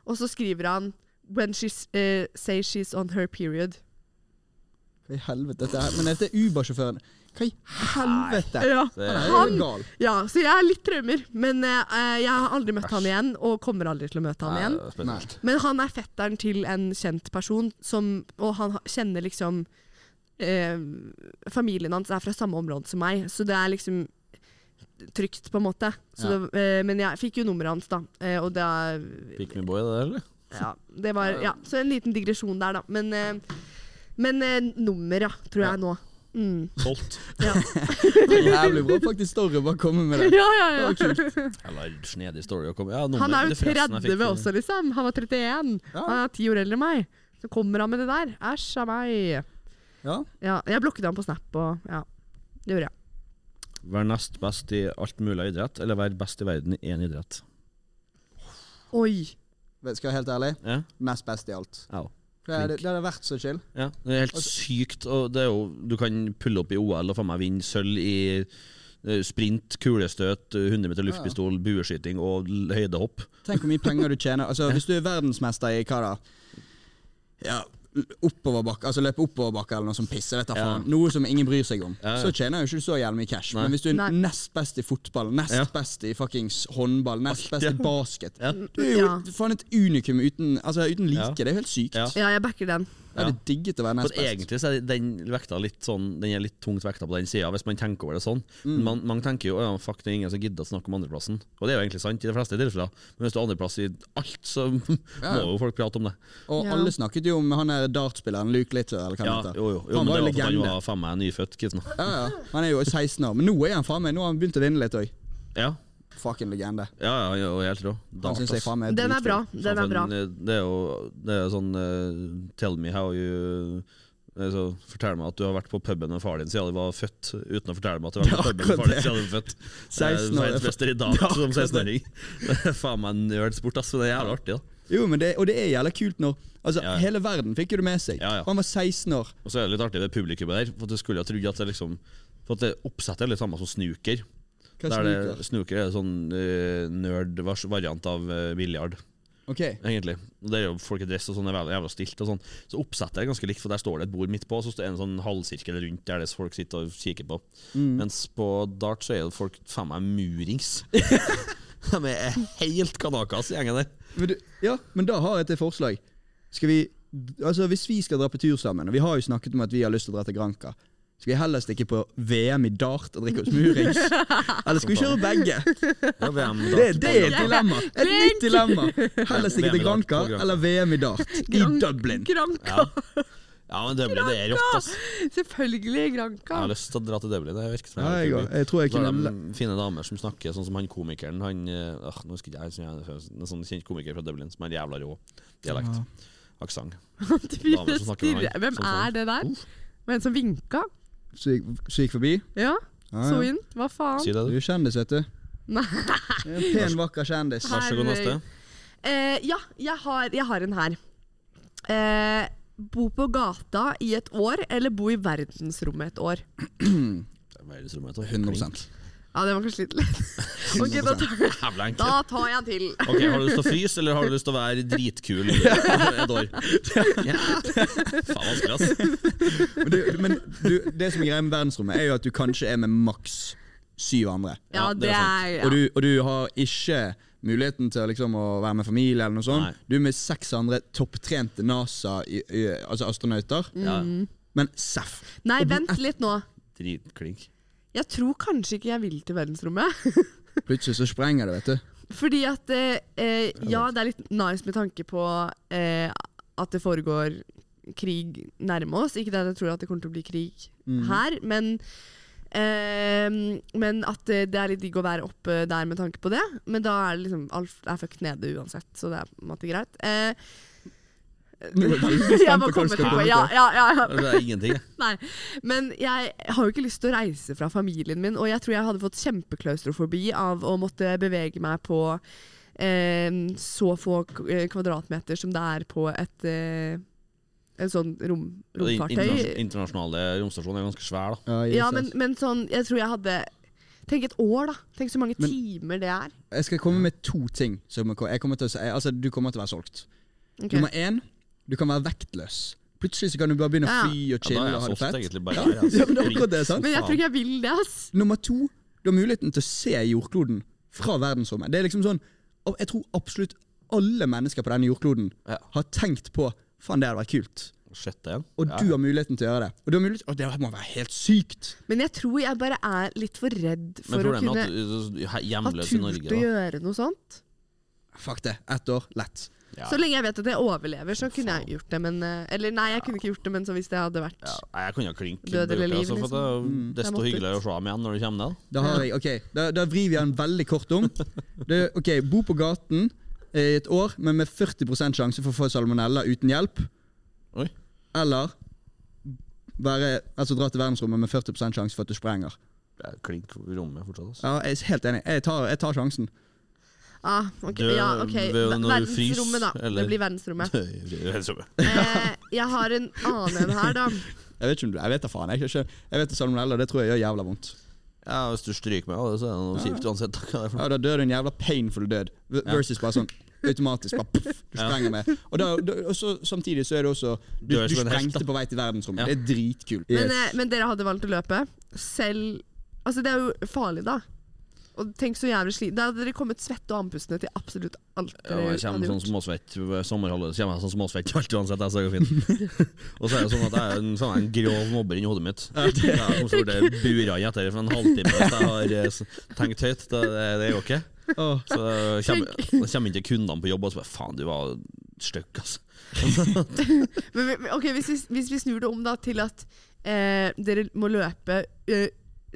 Og så skriver han When she s- eh, say she's on her period.
Hva i helvete dette er? Men dette er Uber-sjåføren. Hva i helvete?
Ja.
det
Han
er,
er
Han-
jo gal.
ja, så jeg er litt traumer. Men eh, eh, jeg har aldri møtt han igjen, og kommer aldri til å møte han igjen.
Nei, spesielt.
Men han er fetteren til en kjent person, som, og han ha- kjenner liksom eh, Familien hans er fra samme område som meg, så det er liksom trygt, på en måte. Så
Ja.
det, eh, men jeg fikk jo nummeret hans, da. Eh, og da
Pick me boy, det der, eller?
ja, det var, ja, Så en liten digresjon der, da. Men, eh, men eh, nummer, ja, tror jeg nå. Mm.
Solgt.
Ja.
Jævlig bra. Faktisk story bare komme med det.
ja, ja,
Det var
Eller snedig story å komme ja, nummer,
Han er jo
det forresten jeg
30
fikk til-
også, liksom. Han var 31.
Ja.
Han er ti år eldre enn meg. Så kommer han med det der. Æsj a meg.
Ja.
Ja, jeg blokket han på Snap og ja. Det gjorde jeg.
Vær nest best i alt mulig idrett, eller vær best i verden i én idrett.
Oi.
Vet- Skal jeg være helt ærlig?
Ja?
Nest best i alt.
Au.
Det er- det hadde vært så chill.
Ja, det er
Altså-
helt sykt. Og det er jo, du kan pulle opp i OL og faen meg vinne sølv i eh, sprint, kulestøt, 100 meter luftpistol, bueskyting og l- høydehopp.
Tenk hvor mye penger du tjener. Altså, Hvis du er verdensmester i hva da? Ja, oppoverbakke, altså løpe oppoverbakke eller noe som pisser, vet da
Ja.
faen. Noe som ingen bryr seg om.
Ja, ja.
Så tjener jo ikke du så jævlig mye cash.
Nei.
Men hvis du er
Nei.
nest best i fotball, nest
Ja.
best i fuckings håndball, nest best i basket
Ja.
Du er jo
Ja.
faen et unikum uten, altså, uten like.
Ja.
Det er jo helt sykt.
Ja.
Ja, jeg backer den.
Jeg hadde digget å være
For
nest best.
egentlig så er den vekta litt sånn Den er litt tungt vekta på den sida, hvis man tenker over det sånn.
Mm.
Men man, man tenker jo ja, fuck, det er ingen som gidder å snakke om andreplassen. Og det er jo egentlig sant i de fleste tilfeller. Men hvis du har andreplass i alt, så må jo folk prate om det.
Og
Ja.
alle snakket jo om han der dartspilleren Luke Litter, eller hva
Ja,
han heter.
jo, jo. jo
han
men
var jo
det var for at han
legende.
var faen meg nyfødt kidsen.
Ja, ja. Han er jo 16 år, men nå er han faen meg Nå har han begynt å vinne litt òg.
Ja,
Fucking legende.
ja, ja, ja, helt rå.
Han synes jeg faen meg
Den er
dritkul.
bra. Den er
Faen,
bra.
for en, eh, Det er jo det er jo sånn eh, Tell me how you eh, så Fortell meg at du har vært på puben med faren din siden du var født, uten å fortelle meg at du har
Det
vært på
er
puben med
akkurat
faren
det.
din siden du var født. Eh,
16 år.
Verdensmester i
Det
dag
er
som
akkurat det.
16-åring. Det er faen meg nerdsport, ass. men Det er jævlig artig, da.
Jo, men det, og det er jævla kult når Altså,
Ja.
Hele verden fikk jo det med seg.
Ja, ja.
Og han var 16 år.
Og så er det litt artig det publikummet der. For at jeg skulle ha trodd at det liksom For at det oppsettet er litt samme som snooker.
Hva
Der
snuker?
det, snooker er sånn uh, nerd-variant av uh, biljard,
Ok.
egentlig. Og det er jo Folk i dress og sånn er veldig jævla stilt. og sånn Så oppsettet er ganske likt, for der står det et bord midt på, og så er det en sånn halvsirkel rundt der det folk sitter og kikker på.
Mm.
Mens på dart så er jo folk faen meg murings. De er helt kanakas, gjengen der.
Men du, ja, men da har jeg et forslag. Skal vi Altså, Hvis vi skal dra på tur sammen, og vi har jo snakket om at vi har lyst til å dra til Granca, skal vi heller stikke på VM i dart og drikke oss murings? Eller skal vi kjøre begge?
Ja, VM,
Det, det er et
dart-
dilemma. Et nytt dilemma. Heller stikke til
VM i dart
Granca
på Granca.
eller VM i dart i
Gran-
Dublin.
Granka.
Ja. ja, men Dublin det er rått, ass.
Selvfølgelig Granka.
Jeg har lyst til å dra til Dublin. Det virker som
Ja, jeg,
jævlig
går.
kul by.
jeg tror jeg
Så har
kunne
de fine damer som snakker, sånn som han komikeren han, eh, ah, Nå husker ikke jeg, jeg, En sånn kjent komiker fra Dublin som er en jævla rå dialekt. Aksent.
Du begynner
Damer som
å
snakker
stirre.
med meg,
Hvem
som sånn.
er det der?
Uff.
Men som vinka?
Så gikk- så gikk forbi.
Ja,
Ja,
så
ja.
inn. Hva faen?
Si det,
Du
du.
er kjendis, vet du.
Nei.
En pen, vakker kjendis.
Vær så god, neste.
Eh, ja, jeg har, jeg har en her. Eh, bo på gata i et år, eller bo i verdensrommet et år?
Verdensrommet.
100
Ja, det var kanskje litt lett. Ok, da tar,
Jævla
da
enkelt.
tar jeg til.
Ok, Har du lyst til å fryse, eller har du lyst til å være dritkul i et år? Ja. Faen, vanskelig, ass.
Men, du, men du, det som er greia med verdensrommet, er jo at du kanskje er med maks syv andre.
Ja,
Ja, det
det
er
er
sant.
ja.
Og, du, og du har ikke muligheten til å liksom, å være med familie eller noe sånt.
Nei.
Du er med seks andre topptrente NASA, i, i, altså astronauter.
Mm.
Ja,
Men E seff!
Nei, vent litt nå.
Dritklink.
Jeg tror kanskje ikke jeg vil til verdensrommet.
Plutselig så sprenger det, vet du.
Fordi at eh, eh, Ja, det er litt nice med tanke på eh, at det foregår krig nærme oss. Ikke det at jeg tror at det kommer til å bli krig her, men eh, Men at eh, det er litt digg å være oppe der med tanke på det. Men da er det liksom alt er fucked nede uansett, så det er på en måte greit. Eh, jeg bare kommer til poenget. Ja, ja, ja, ja.
Det er ingenting, jeg.
Nei, men jeg har jo ikke lyst til å reise fra familien min, og jeg tror jeg hadde fått kjempeklaustrofobi av å måtte bevege meg på eh, så få k- eh, kvadratmeter som det er på et eh, en sånn rom,
Og den internas-
romfartøy.
Internasjonale romstasjonen er ganske svær, da.
Ja, Jesus.
Ja, men, men sånn, jeg tror jeg hadde Tenk et år, da. Tenk så mange timer det er.
Jeg skal komme med to ting. Som jeg jeg kommer til å si, altså, du kommer til å være solgt.
Ok.
Nummer én, du kan være vektløs. Plutselig så kan du bare begynne å
Ja.
fly og
Ja, da
chille
er jeg
og ha det
solgt
fett.
egentlig bare der. altså.
Ja, men det er akkurat det, sant?
Men jeg tror ikke jeg vil det, ass.
Nummer to, du har muligheten til å se jordkloden fra verdensrommet. Det er liksom sånn, og Jeg tror absolutt alle mennesker på denne jordkloden
Ja.
har tenkt på Faen, det hadde vært kult.
Sjette igjen.
Og
Ja.
du har muligheten til å gjøre det. Og du har mulighet, og det må være helt sykt!
Men jeg tror jeg bare er litt for redd
Men
for å
problemet
kunne
er at du- du er
ha
hjemløs i Norge,
turt å
da.
gjøre noe sånt.
Fuck det. Ett år, lett.
Ja.
Så lenge jeg vet at jeg overlever, så kunne jeg gjort det. Men, eh, eller nei, jeg kunne ikke gjort det, men så hvis det hadde vært
Ja, nei, jeg kunne ha klink.
Død eller liv, liksom. Mm.
altså, for det er jo
Jeg
Desto
måtte
hyggeligere å se ham igjen når du kommer ned.
Da har jeg, ok, da, da vrir vi den veldig kort om. Det, ok, Bo på gaten eh, i et år, men med 40 sjanse for å få salmonella uten hjelp.
Oi.
Eller være, altså, dra til verdensrommet med 40 sjanse for at du sprenger.
Det er klink i rommet fortsatt. Altså.
Ja, jeg er helt enig. Jeg tar, jeg tar sjansen.
ah, ok,
Død
ja, ok.
ved-
Ver-
når du fryser,
Verdensrommet, da.
eller?
Det blir verdensrommet.
Verdensrommet.
Eh, jeg har en annen en her, da.
Jeg vet ikke om du, jeg vet da faen. Jeg, jeg, jeg vet at salmonella, det tror jeg gjør jævla vondt.
Ja, hvis du stryker meg av det, så er det noe kjipt uansett. Hva det er for noe.
Ja, Da dør du en jævla painful død, v- versus bare sånn automatisk. bare puff, Du sprenger med. Og, da, da, og så, samtidig så er det også Du,
Dør
du
som en helt,
sprengte
da.
på vei til verdensrommet.
Ja.
Det er dritkult.
Men, eh, men dere hadde valgt å løpe. Selv Altså, det er jo farlig, da. Og tenk så jævlig slit. Da hadde dere kommet svette og andpustne til absolutt alt
Ja,
dere
jeg
hadde
kommer sånn
gjort.
småsvett sommerhalvåret, så kommer jeg sånn småsvett alt uansett. Jeg, så det går fint. Og så er det sånn at jeg er en, sånn, en grov mobber inni hodet mitt. Jeg kommer til å bli bura inn etter for en halvtime hvis jeg har eh, s- tenkt høyt. Det, det, det går ikke.
Åh.
Så kommer, kommer ikke kundene på jobb og så bare faen, du var stygg, altså.
Men, vi- ok, hvis vi, hvis vi snur det om da til at eh, dere må løpe eh,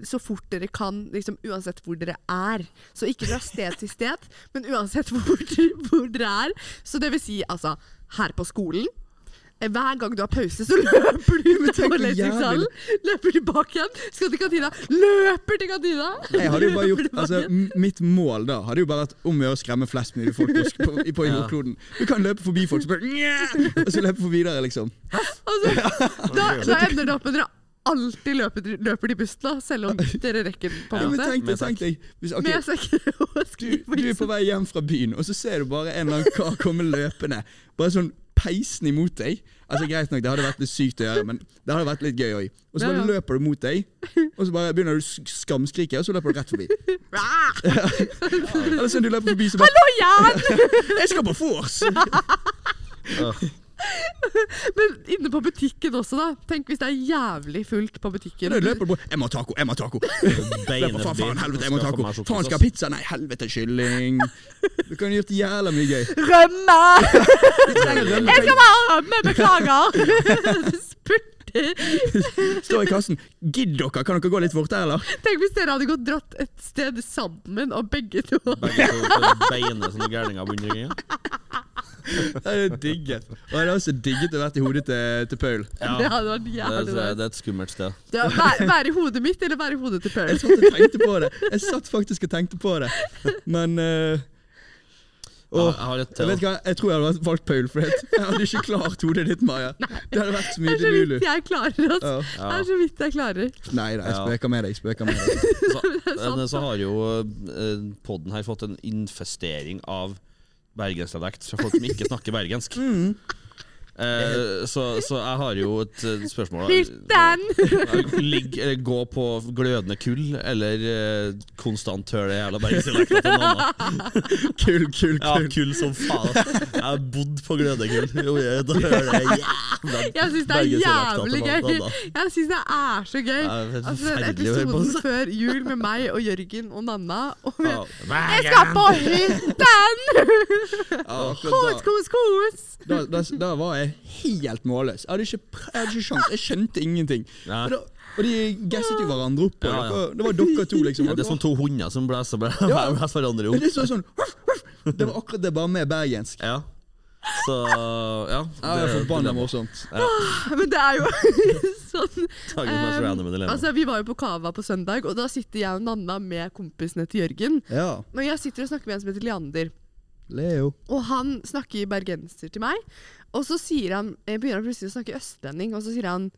så fort dere kan, liksom, uansett hvor dere er. Så ikke fra sted til sted, men uansett hvor, dere- hvor dere er. Så det vil si altså her på skolen, Hver gang du har pause, så løper du ut
tenk
av
hvor
lesningssalen. Løper tilbake igjen, skal til kantina, løper til kantina!
Jeg hadde jo bare
Løper
gjort,
tilbake
altså,
igjen.
m- Mitt mål da hadde jo bare vært om å gjøre å skremme flest mulig folk på, sk- på, på jordkloden. Du kan løpe forbi folk, så bare "Nye!" Og så løpe forbi der, liksom.
Og så- Altså, da, da ender det opp med at dere alltid løper, til- løper til bussen, da, selv om dere rekker den. på
Ja,
en
men
måte.
tenk deg,
Med sekk.
tenk deg hvis, ok,
Med sekker og
du, du er på
skrivebordet.
vei hjem fra byen, og så ser du bare en eller annen kar komme løpende. Bare sånn peisende imot deg. Altså Greit nok, det hadde vært litt sykt å gjøre, men det hadde vært litt gøy òg. Og så
Ja,
bare
ja.
løper du mot deg, og så bare begynner du å sk- skamskrike, og så løper du rett forbi. Eller sånn du løper forbi, så bare
Hallo, Jan!
'Jeg skal på vors!'
Men inne på butikken også, da. Tenk hvis det er jævlig fullt på butikken.
Da løper du bare 'Jeg må ha taco, jeg må ha taco'. Løper, faen, faen, helvete, jeg må ha taco. Faen, skal ha pizza? Nei, helvete, kylling. Du kan gjort jævla mye gøy.
Rømme!
Du trenger rømme,
Jeg skal bare rømme, beklager! Spurter.
Stå i kassen. Gidd dere, kan dere gå litt fortere, eller?
Tenk hvis dere hadde gått dratt et sted sammen, og begge to
Begge to beine sånne gærninger på underringen.
Det er digget. Og jeg hadde også digget å vært i hodet til, til Paul.
Ja.
Det hadde vært
Det,
jævlig
det,
nice.
det er et skummelt sted.
Det var Være være i hodet mitt eller være i hodet til Paul.
Jeg satt og tenkte på det. Jeg satt faktisk og tenkte på det. Men eh,
Ja,
åh,
jeg har et
jeg
til.
vet hva, jeg tror jeg hadde valgt Paul, for det. jeg hadde ikke klart hodet ditt, Maja. Det hadde vært så
Det
mye
er så
til Lulu.
vidt jeg klarer, altså.
Ja.
Det er så vidt jeg klarer.
Nei da, jeg
Ja.
spøker med deg. jeg spøker med deg.
Så, eh, så har jo poden her fått en infestering av bergensdialekt fra folk som ikke snakker bergensk. Eh, så, så jeg har jo et eh, spørsmål. da.
Hytten!
Ligg, eller gå på glødende kull, eller eh, konstant høre det jævla bergensdialekta til noen annen.
Kull, kull,
Ja,
kull.
kull som faen. Jeg har bodd på glødekull. Jo, jeg- Da hører jeg jævla
Jeg syns det er
bergensdialekta til
jævlig
noen
gøy!
annen.
Jeg syns det er så gøy!
Ja, det er
Altså, den
forferdelig å høre på,
episoden
altså.
før jul med meg og Jørgen og Nanna og vi-
Ja.
Jeg skal på hytten!
Ja, akkurat
Kos,
da,
kos, kos!
da, da, da var jeg helt målløs. Jeg hadde ikke, pr- jeg hadde ikke sjans. Jeg skjønte ingenting.
Nei.
Og, da, og de gasset jo hverandre opp. Og
Ja, ja.
dere- Det var dere to, liksom.
Ja, det er sånn som to hunder som blæser blæ-
Ja.
blæser hverandre i
Men
hodet.
det, så sånn, huff, huff. det var akkurat det, bare med bergensk.
Ja. Så ja.
Ja, det er Forbanna morsomt.
Men det er jo sånn
Dagen som er
Um,
så
ehm,
random i dilemma.
altså, Vi var jo på Cava på søndag, og da sitter jeg og Nanna med kompisene til Jørgen.
Ja,
Men jeg sitter og snakker med en som heter Leander,
Leo.
og han snakker bergenser til meg. Og så sier han, eh, begynner han plutselig å snakke østlending, og så sier han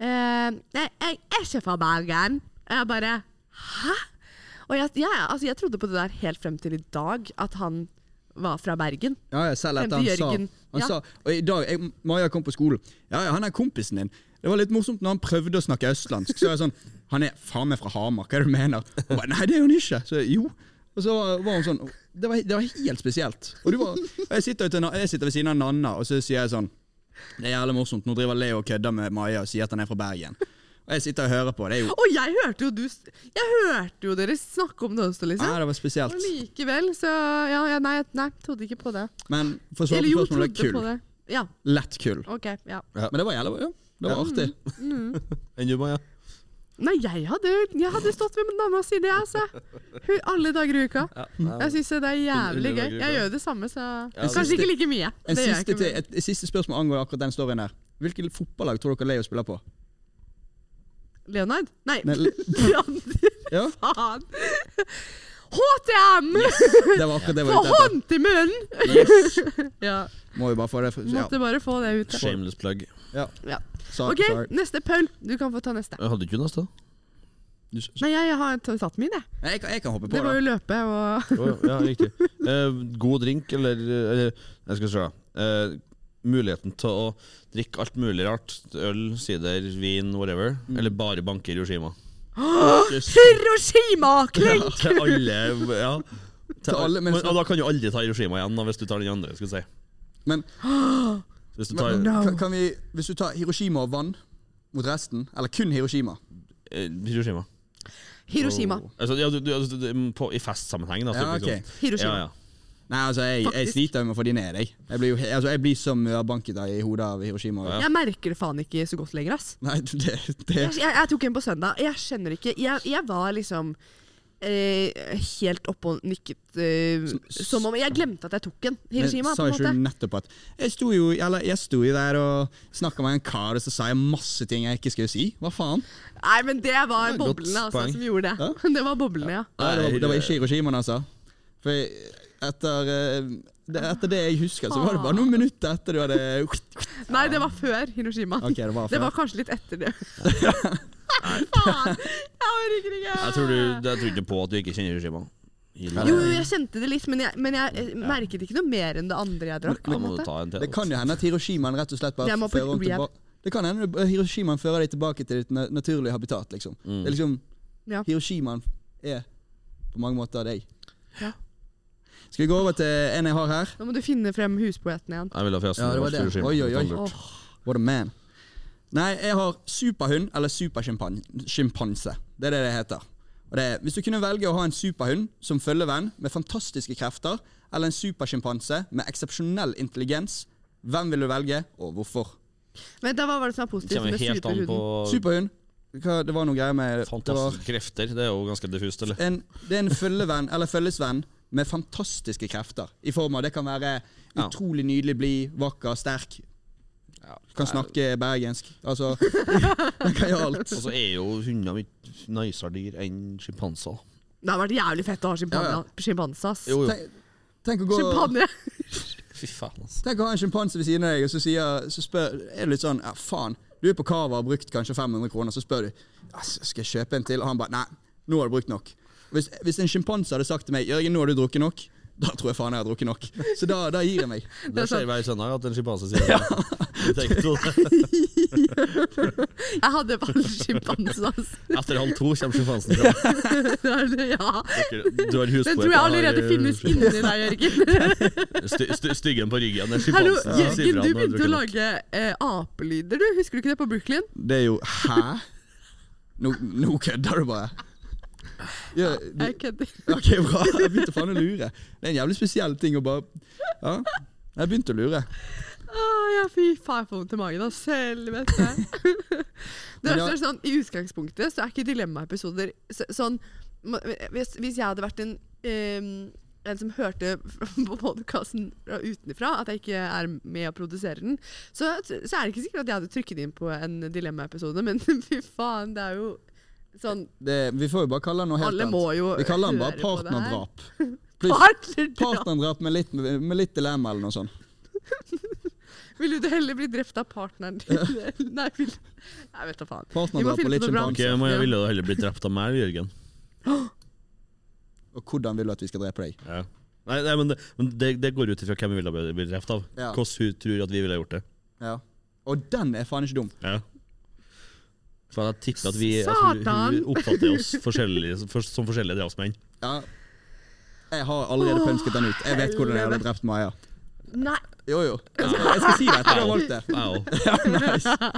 eh, Nei, jeg er ikke fra Bergen. Og jeg bare Hæ? Og jeg, jeg, altså, jeg trodde på det der helt frem til i dag, at han var fra Bergen.
Ja, ja, selv
Frem
etter han
til
sa,
Jørgen.
han
Ja.
sa Og i dag, jeg, Maja kom på skolen. Ja, ja, han er kompisen din. Det var litt morsomt når han prøvde å snakke østlandsk. Så var jeg sånn Han er faen meg fra Hamar, hva er det du mener? Og bare, Nei, det er han ikke. Så jeg, jo. Og så var hun sånn Det var, det var helt spesielt. Og du var, og jeg, sitter jo til, jeg sitter ved siden av Nanna, og så sier jeg sånn Det er jævlig morsomt. Nå driver Leo og kødder med Maja og sier at han er fra Bergen. Og jeg sitter og hører på. Det er jo
Og jeg hørte jo du s- Jeg hørte jo dere snakke om det også, liksom.
Nei, det var spesielt.
Og likevel, så ja, ja nei, jeg- nei, trodde ikke på det.
Men for å svare
Eller
på
jo,
spørsmålet,
trodde på
det var kull.
det. Ja,
Lett kull.
ok. ja.
Men det var jævlig ja, det var artig.
Enn du, Maja?
Nei, jeg hadde, jeg hadde stått ved min mamma side, jeg, altså. Hun- Alle dager i uka. Jeg syns det er jævlig
Alle dager i
gøy.
uka.
Jeg gjør jo det samme, så
En
Kanskje
siste-
ikke like mye.
En
Det gjør jeg
siste,
ikke,
til,
men-
et, et siste spørsmål angår akkurat den storyen der. Hvilket fotballag tror dere Leo spiller på?
Leonard? Nei.
Nei, le-
Leander,
Ja,
faen. HTM!
Det var akkurat det jeg
Få
var ute etter.
hånd til munnen!
Yes.
Ja,
Må jo bare få det for, ja.
Måtte bare få det ut.
Shameless plug.
ja.
Ja.
Sorry.
OK,
sorry.
neste. Paul, du kan få ta neste.
Jeg hadde ikke noe sted.
Du s-
Nei, jeg har tatt min, jeg.
Nei, jeg, kan, jeg kan hoppe på,
Det var
da.
jo løpe og
Å, ja, riktig. Eh, god drink, eller, eller Jeg skal se. Eh, muligheten til å drikke alt mulig rart. Øl, sider, vin, whatever. Eller bare banke Hiroshima.
Hiroshima! Klink!
til alle, ja. Til
Til alle,
alle,
men-
men, og da kan du aldri ta Hiroshima igjen, da, hvis du tar den andre. Skal jeg si.
Men,
Hvis du tar
men
No.
kan, kan vi, hvis du tar Hiroshima og vann mot resten, eller kun Hiroshima
eh, Hiroshima.
Hiroshima.
Altså, ja, du, du, altså, du, på, I festsammenheng, da. så
Ja,
liksom-
ok.
Hiroshima.
Ja, ja.
Nei, altså, jeg, jeg
Faktisk.
sliter jo med å få de ned, jeg. Jeg blir, jo, he- altså, jeg blir som banket i hodet av Hiroshima.
Ja.
Jeg merker det faen ikke så godt lenger, ass.
Nei, det, det
Altså, Jeg, jeg, jeg tok en på søndag. Jeg skjønner ikke Jeg, jeg var liksom eh, helt oppe og nikket eh, som om Jeg glemte at jeg tok en Hiroshima, på
sa
en
ikke
måte.
du nettopp at jeg sto jo eller, jeg sto jo der og snakka med en kar, og så sa jeg masse ting jeg ikke skulle si? Hva faen?
Nei, men det var
Det er et godt
boblene altså,
poeng.
som gjorde det. Det var boblene, ja.
Nei, det, var, det var
Nei,
ikke Hiroshima, altså. For jeg- etter, eh, det, etter det jeg husker, så var det bare noen minutter etter du hadde
Nei, det var før Hiroshima.
Ok, det var før.
kanskje litt etter det. Nei, faen! Jeg orker ikke!
Jeg tror, du, jeg tror ikke på at du ikke kjenner Hiroshima.
Jo, jo, jeg kjente det litt, men jeg, men jeg eh, merket ikke noe mer enn det andre jeg drakk. på
Da
en
må du
måte.
ta en til.
Det kan jo hende at Hiroshimaen rett og slett bare
Jeg må på
fører om
rehab.
tilba- Det kan hende du- Hiroshimaen fører deg tilbake til ditt na- naturlige habitat, liksom. Det er liksom
Ja.
Hiroshimaen er på mange måter deg.
Ja.
Skal vi gå over til en jeg har her?
Nå må du finne frem huspoeten igjen.
Jeg ville ha fjeset
Ja, det var
mitt
det.
til Hiroshima.
Oi, oi, oi.
Lurt.
Åh,
What a man. Nei, jeg har superhund eller supersjimpanse. Det er det det heter. Og det er, hvis du kunne velge å ha en superhund som følgevenn med fantastiske krefter, eller en supersjimpanse med eksepsjonell intelligens, hvem vil du velge, og hvorfor?
Vent, da, hva var det som var
Det
positivt
kommer
med
jo helt an på
superhunden?
Superhund. Hva, det var noe greier med det var
fantastiske krefter. Det er jo ganske diffust, eller?
en, Det er en følgevenn eller følgesvenn med fantastiske krefter. I form av det kan være
Ja.
utrolig nydelig blid, vakker, sterk. Kan snakke bergensk. Altså, den kan gjøre alt.
Og så er jo hunder mitt nicere dyr enn sjimpanser.
Det har vært jævlig fett å ha
Ja, ja.
sjimpanse, ass.
Jo, jo.
Tenk, tenk, å gå,
Sjimpanse!
Fy faen, altså.
tenk å ha en sjimpanse ved siden av deg, og så, sier, så spør, er du litt sånn ja, Faen, du er på Cava og har brukt kanskje 500 kroner, så spør du «Ass, skal jeg kjøpe en til. Og han bare Nei, nå har du brukt nok. Hvis, hvis en sjimpanse hadde sagt til meg Jørgen, nå har du drukket nok, da tror jeg faen jeg har drukket nok. Så da, da gir jeg meg.
Det
er sant.
skjer hver søndag at en sjimpanse sier det. Tenk på det.
Jeg hadde bare sjimpanse, ass.
Etter halv to kommer sjimpansen fram.
Det er det, ja.
Du har huspoet.
Den tror jeg allerede
eh,
finnes inni deg, Jørgen.
Sty, sty, styggen på ryggen. Det er
Hallo,
sjimpansen. som sier
Jørgen, du
fra når
begynte å
drikker nok.
lage eh, apelyder, du. Husker du ikke det på Brooklyn?
Det er jo Hæ? Nå nå kødder du bare. Ja, du,
Jeg kødder.
ok, bra. Jeg begynte faen å lure. Det er en jævlig spesiell ting å bare Ja, jeg begynte å lure.
Åh, ja, fy faen, jeg får vondt i magen av helvete. det
Men ja.
verste er sånn, I utgangspunktet så er ikke dilemmaepisoder så, sånn ma- hvis, hvis jeg hadde vært en, ehm, en som hørte på podkasten utenfra, at jeg ikke er med å produsere den, så, så er det ikke sikkert at jeg hadde trykket inn på en dilemmaepisode, men fy faen, det er jo sånn
Det, vi får jo bare kalle den noe helt
Alle
annet.
må jo
Vi kaller den bare
høre på det her.
partnerdrap. Pluss
partnerdrap.
partnerdrap med litt, med litt dilemma eller noe sånt.
Ville du heller bli drept av partneren din? Nei, vil, nei, vet da faen. Vi må
Partnerdrap og
finne
litt
på noe bra.
Ok,
sjimpanse.
men jeg ville jo heller blitt drept av meg, Jørgen.
Og hvordan vil du at vi skal drepe deg?
Ja. Nei, nei, men det, men det, det går ut ifra hvem vi ville ha blitt drept av.
Ja.
Hvordan hun tror at vi ville ha gjort det.
Ja. Og den er faen ikke dum.
Ja. For jeg tipper at vi at hun, hun
Satan!
oppfatter oss forskjellige, for, som forskjellige drapsmenn.
Ja. Jeg har allerede pønsket den ut. Jeg vet hvordan jeg hadde drept Maja.
Nei,
Jo, jo. Jeg skal, jeg skal si det etter du har valgt det.
Wow.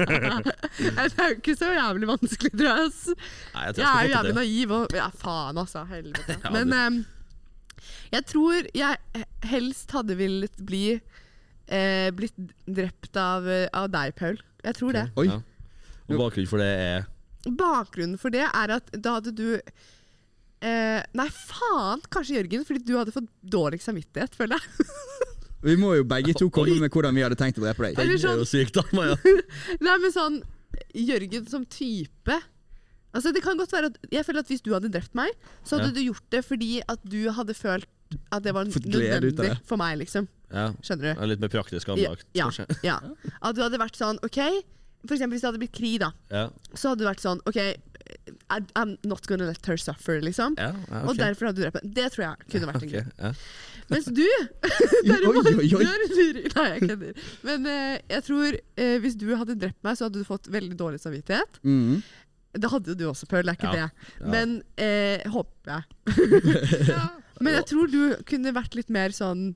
det er jo ikke så jævlig vanskelig, tror jeg. ass.
Nei, jeg tror
Jeg er jo jævlig
jeg skal få til det.
naiv og Ja, faen, altså. Helvete.
Ja,
Men
du-
em, jeg tror jeg helst hadde villet bli eh, blitt drept av, eh, av deg, Paul. Jeg tror det.
Oi.
Ja. Og bakgrunnen for det er
Bakgrunnen for det er at da hadde du eh, Nei, faen, kanskje Jørgen, fordi du hadde fått dårlig samvittighet, føler jeg.
Vi må jo begge to komme med hvordan vi hadde tenkt å drepe deg.
Eller
Det er
sånn
jo sykt, da, Maja.
Nei, men sånn Jørgen som type Altså det kan godt være at Jeg føler at hvis du hadde drept meg Så hadde
Ja.
du gjort det fordi at du hadde følt At det var
Fått glede ut av
nødvendig
det.
for meg liksom
Ja.
Skjønner du?
det er Litt mer praktisk
Ja,
anlagt,
ja,
kanskje.
ja. At du hadde vært sånn, ok For eksempel hvis det hadde blitt krig da
Ja.
Så hadde du vært sånn, ok I, I'm not gonna let her suffer liksom
Ja, ja,
Og
ok.
derfor hadde du drept meg Det tror jeg kunne vært en
Ok,
grunn
ja.
mens du
Oi,
Derimot
oi, oi.
du er en luring. Nei, jeg kødder. Men eh, jeg tror eh, hvis du hadde drept meg, så hadde du fått veldig dårlig samvittighet.
Mhm.
Det hadde jo du også, Paul. Det er ikke
Ja.
det. Men eh, håper jeg. Men jeg tror du kunne vært litt mer sånn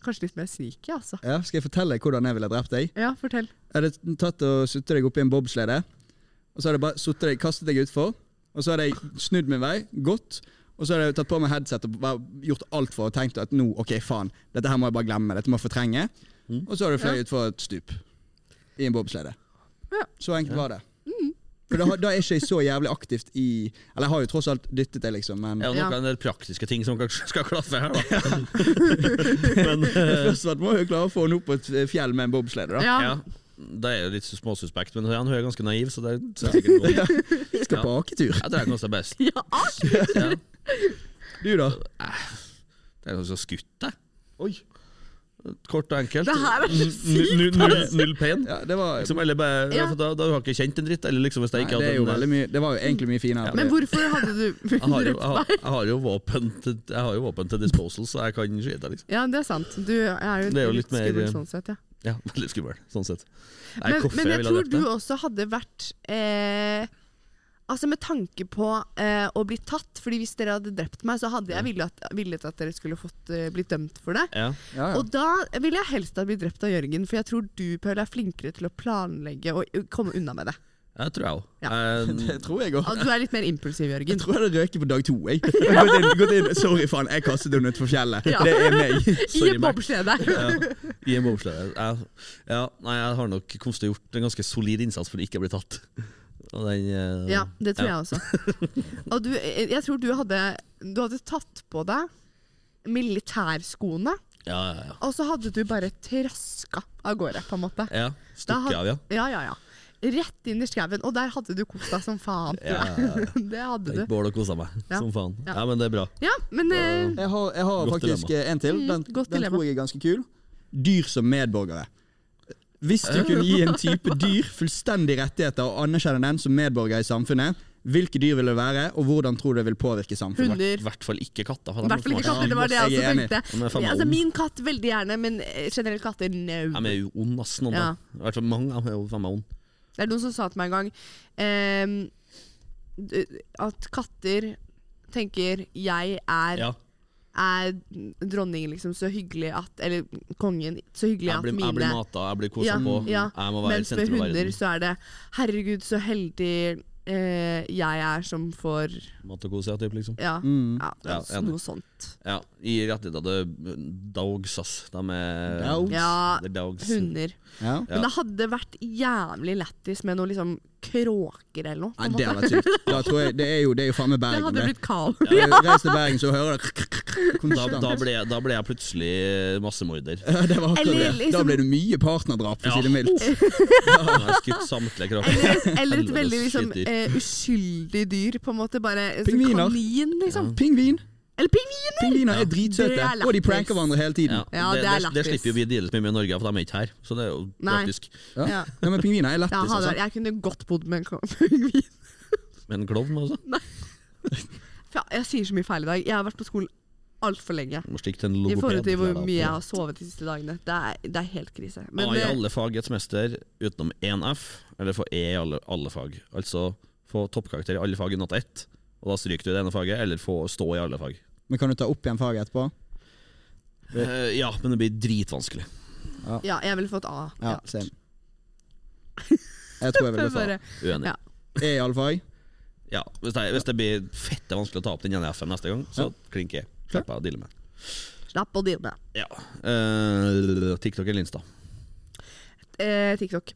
Kanskje litt mer sneaky, altså.
Ja, skal jeg fortelle deg hvordan jeg ville drept deg?
Ja, fortell.
Jeg hadde tatt og suttet deg oppi en bobslede. Og så hadde jeg bare suttet deg, kastet deg utfor. Og så hadde jeg snudd min vei, gått. Og så hadde jeg tatt på meg headset og bare gjort alt for og tenkt at nå, ok, faen, dette her må jeg bare glemme. Dette må jeg fortrenge.
Mm.
Og så hadde jeg fløyet utfor et stup. I en bobslede.
Ja.
Så enkelt var det. For da, har- da er ikke jeg så jævlig aktivt i Eller jeg har jo tross alt dyttet det, liksom, men
Er det
Ja.
noen del praktiske ting som kanskje skal klaffe her, da? Men eh,
Først og fremst må jeg jo klare å få henne opp på et eh, fjell med en bobslede, da.
ja.
Ja.
Det er jo litt småsuspekt, men han er ganske naiv, så det er sikkert godt.
Jeg skal på aketur.
Jeg tror jeg kanskje er best.
Ja, ass!
Ja.
Du, da?
Det er kanskje skutt, jeg.
Oi.
Kort og enkelt.
Det her er så
Null- null- null, null pain.
Ja, det var
Liksom, eller bare,
Ja.
for da, da har jeg ikke kjent en dritt. Eller liksom hvis jeg
Nei,
ikke
det, er
hadde
jo
en-
veldig mye, det var jo egentlig mye finere.
Men hvorfor hadde du
jeg har, jo,
drept
jeg, har,
meg?
jeg, har jo våpen til, jeg har jo våpen til disposal, så jeg kan skyte. Liksom.
Ja, det er sant. Du er jo,
Det er jo litt
litt
mer-
skummel sånn sett, ja.
Ja, Veldig skummel, sånn sett. Nei,
Men,
hvorfor
men jeg
ville
tror
drept
du
deg?
også hadde vært eh, Altså med tanke på eh, å bli tatt, fordi hvis dere hadde drept meg, så hadde jeg villet, villet at dere skulle fått eh, blitt dømt for det.
Ja.
Ja, ja.
Og da ville jeg helst ha blitt drept av Jørgen, for jeg tror du Paul, er flinkere til å planlegge og eh, komme unna med det.
Jeg tror jeg òg.
Ja.
Det
Mm.
tror jeg òg.
Og du er litt mer impulsiv,
Jeg
Jørgen.
tror jeg hadde røket på dag to. Jeg. Jeg har gått inn, gått inn. Sorry, faen. Jeg kastet henne utfor fjellet.
Ja.
Det er meg.
I
sorry,
en
Mac.
bobleskjede.
I en bobslede. Ja. ja, nei, jeg har nok kommet til å gjort en ganske solid innsats for å ikke bli tatt. Og den, eh,
Ja, det tror
ja.
jeg også. Og du, eh, jeg tror du hadde, du hadde tatt på deg militærskoene,
Ja, ja, ja.
og så hadde du bare traska av gårde, på en måte.
ja.
Da
Stukket
had-
av, ja.
Ja, ja, ja. Rett inn i skauen, og der hadde du kost deg som faen. tror
Ja,
jeg.
ja, ja.
Det hadde
Tenk
du.
bål og kosa meg
Ja.
som faen.
Ja.
Ja. men det er bra.
Ja, men eh,
Jeg har, jeg har
Godt
faktisk eh, en til. Den,
Mm, godt
den
dilemma.
tror jeg er ganske kul. Dyr som medborgere. Hvis du kunne gi en type dyr fullstendig rettigheter og anerkjenne den som medborger i samfunnet, hvilke dyr vil det være, og hvordan tror du det vil påvirke samfunnet?
I
hunder
hvert fall ikke katter. for
I
de
hvert fall ikke
er faen-
katter, det var det jeg
jeg er
også tenkte.
enig.
De er faen meg
Altså,
ond.
min katt veldig gjerne, men eh, generelt katter, no.
De er jo ond, ass. Noen,
Ja.
da. I hvert fall mange av dem er jo faen meg ond.
Det er noen som sa til meg en gang ehm, d- at katter tenker 'jeg er
Ja.
er dronningen liksom så hyggelig at Eller kongen så hyggelig
Jeg blir,
at mine
jeg blir mata, jeg blir kosa
Ja,
på.
ja.
Jeg må være
Mens med
sentrum av
hunder
verden.
så er det 'herregud, så heldig eh, jeg er som får
Mat og kos, ja. Typ, liksom.
Ja, ja,
Ja,
altså,
enig.
noe sånt.
ja. I rettigheter det er dogs, ass. De er
Dogs?
Ja,
Det er dogs.
Hunder.
Ja.
Men det hadde vært jævlig lættis med noe liksom kråker eller noe. på
Nei,
en
det
måte.
hadde vært sykt. Da tror jeg, det er jo, det er jo faen meg
det
Bergen.
hadde
Det
blitt kaos.
Reis til Bergen, så hører du
Da,
konstant.
da, ble, jeg- da ble jeg plutselig massemorder.
Ja, det var akkurat
Eller
det. Da
liksom-
ble det mye partnerdrap, for å
Ja.
si det mildt.
Jeg har skutt samtlige kroker.
Eller, eller et veldig liksom,
Helvetes skitdyr.
eh, uskyldig dyr, på en måte. Bare en sånn
Pingviner.
kanin, liksom.
Pingvin.
Eller pingvin!
Pingviner er
Det
dritsøte,
er
og
lættis.
de pranker hverandre hele tiden.
Ja.
Ja, det
det, det,
er
det,
lættis.
slipper jo vi deales med mye i Norge, for de er ikke her. Så det er jo
Nei.
praktisk.
Ja.
Ja.
Ja, men pingviner
Ja,
er lættis.
hadde,
altså.
vært- jeg kunne godt bodd med en ko- pingvin.
Men klovn, altså.
Fa- Jeg sier så mye feil i dag. Jeg har vært på skolen altfor lenge.
Må stikke til en
I
logoped.
forhold til
lærer
hvor
deg
mye
på.
jeg har sovet de siste dagene. Det er, det er helt krise. Men
A i
eh,
alle fag i et semester utenom 1F, eller få E i alle, alle fag. Altså få toppkarakter i alle fag unntatt ett, og da stryker du i det ene faget, eller få stå i alle fag.
Men kan du ta opp igjen faget etterpå?
Eh, ja, men det blir dritvanskelig.
ja, jeg ville fått A.
Ja, same. Jeg tror jeg ville
Jeg
få
bare-
Uenig.
Ja.
E i alle fag.
Ja, hvis, det, hvis det blir fette vanskelig å ta opp den ene F-en neste gang, så klinker jeg. Slipper jeg å deale med.
Slapp å deale med.
Ja. Eh, TikTok eller Insta?
Eh, TikTok.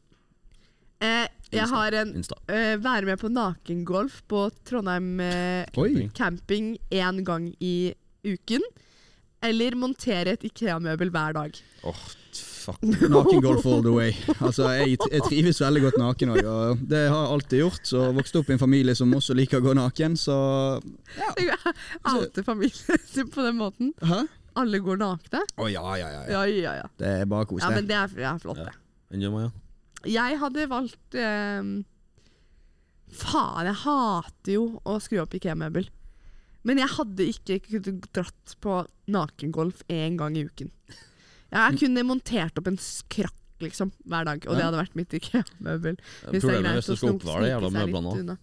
Eh, jeg har en
Insta.
eh, Være med på nakengolf på Trondheim eh,
Oi.
camping én gang i uken. Eller montere et Ikea-møbel hver dag.
Åh, fuck.
Nakengolf all the way. Altså, jeg, jeg trives veldig godt naken òg, og det har jeg alltid gjort. Så jeg vokste opp i en familie som også liker å gå naken, så
Oute familien sin på den måten.
Hæ?
Alle går nakne.
Å ja, ja, ja, ja.
Ja, ja, ja.
Det er bare kos,
ja men
det.
det er, det er flott,
Ja.
det.
Enn du, Maja?
Jeg hadde valgt ehm, Faen, jeg hater jo å skru opp IKEA-møbel. Men jeg hadde ikke kunnet dratt på nakengolf én gang i uken.
Mm.
Jeg kunne montert opp en skrakk liksom, hver dag, og det
Ja.
hadde vært mitt IKEA-møbel. Hvis det er
Problemet er
greit
hvis du
å
skal
sno-
oppbevare de
snike
jævla
seg litt
møblene.
unna.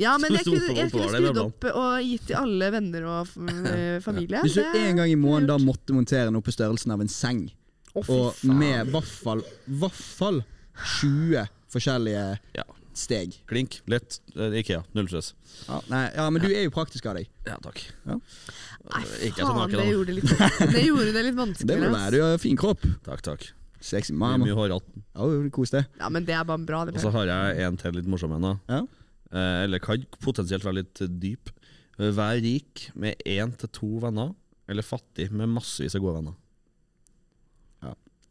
Ja, men jeg
Hvis du
kunne, jeg kunne
oppbevarer de
skrudd opp og gitt til alle venner og eh, familie.
Hvis du
Det-
en gang i måneden da måtte montere noe på størrelsen av en seng,
Å, fy
og
faen.
med vaffel, vaffel 20 forskjellige
Ja.
steg
Klink, lett, eh, Ikea, null stress.
ja, Nei, ja, men du er jo praktisk av deg.
Ja, takk.
Nei,
Ikke jeg som
faen,
naken,
det
da.
gjorde det litt, det gjorde det litt
Det må
vanskeligere.
du
ass.
være. Du har fin kropp.
Takk, takk.
Sexy
Mye,
mama.
mye hårete.
Ja, kos deg.
Ja, men det er bare bra. det
Og så har jeg en til litt morsom en. da.
Ja.
Eh, eller kan potensielt være litt dyp. Eh, Vær rik med én til to venner, eller fattig med massevis av gode venner.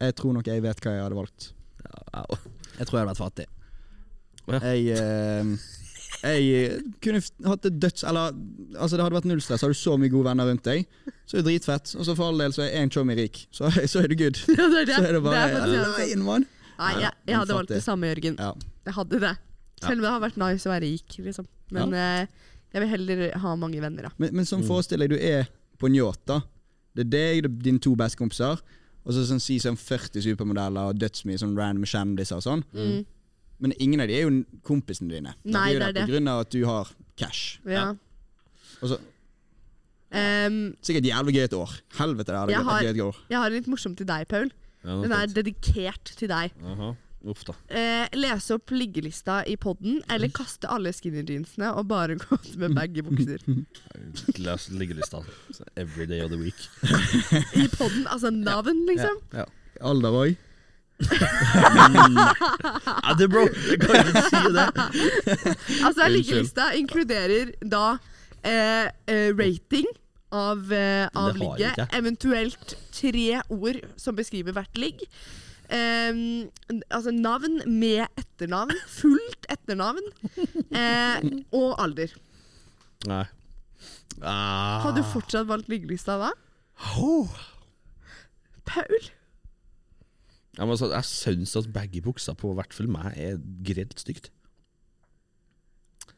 Jeg tror nok jeg vet hva jeg hadde valgt.
Ja, au.
Jeg tror jeg hadde vært fattig.
Å ja.
Jeg, eh, jeg kunne f- hatt et døds... Eller altså det hadde vært null stress. Har du så mye gode venner rundt deg, så er det dritfett. Og så for all del så er én tjommi rik. Så, så er du good.
Ja, det er det.
Så er det bare
det er faktisk det.
Aleine, mann!
Nei, jeg, jeg hadde valgt det samme, Jørgen.
Ja.
Jeg hadde det. Selv om det har vært nice å være rik, liksom. Men eh, jeg vil heller ha mange venner, da.
Men, men
Mm.
sånn forestill deg du er på en yacht. da Det er deg, det er dine to bestekompiser, og så sånn, si sånn 40 supermodeller og dødsmye sånn random kjendiser og sånn.
Mm,
Men ingen av de er jo kompisene dine.
Nei,
de er jo
det er
der
det.
på grunn av at du har cash.
Ja.
Og så,
Em,
sikkert jævlig gøy et år. Helvete, det hadde
Jeg
vært
har-
gøy et år.
jeg har en litt morsom til deg, Paul.
Ja,
Den er
fint.
dedikert til deg.
Aha. Uff da.
Eh, lese opp liggelista i podden, eller kaste alle skinny jeansene og bare gå ut med bag i bukser.
Les liggelista. Så Every day of the week.
I podden, altså navn, liksom.
Ja.
Alder òg.
Ja, det, bro! Jeg kan ikke si det.
Altså
Unnskyld.
Liggelista inkluderer da eh, eh, rating av, eh, av
Det har jeg
ligget,
ikke.
eventuelt tre ord som beskriver hvert ligg. Em, n- altså navn med etternavn, fullt etternavn, eh, og alder.
Nei. Ah.
Hadde du fortsatt valgt liggelista da? Paul?
Ja, men altså, jeg syns at baggy bukser på hvert fall meg er grelt stygt.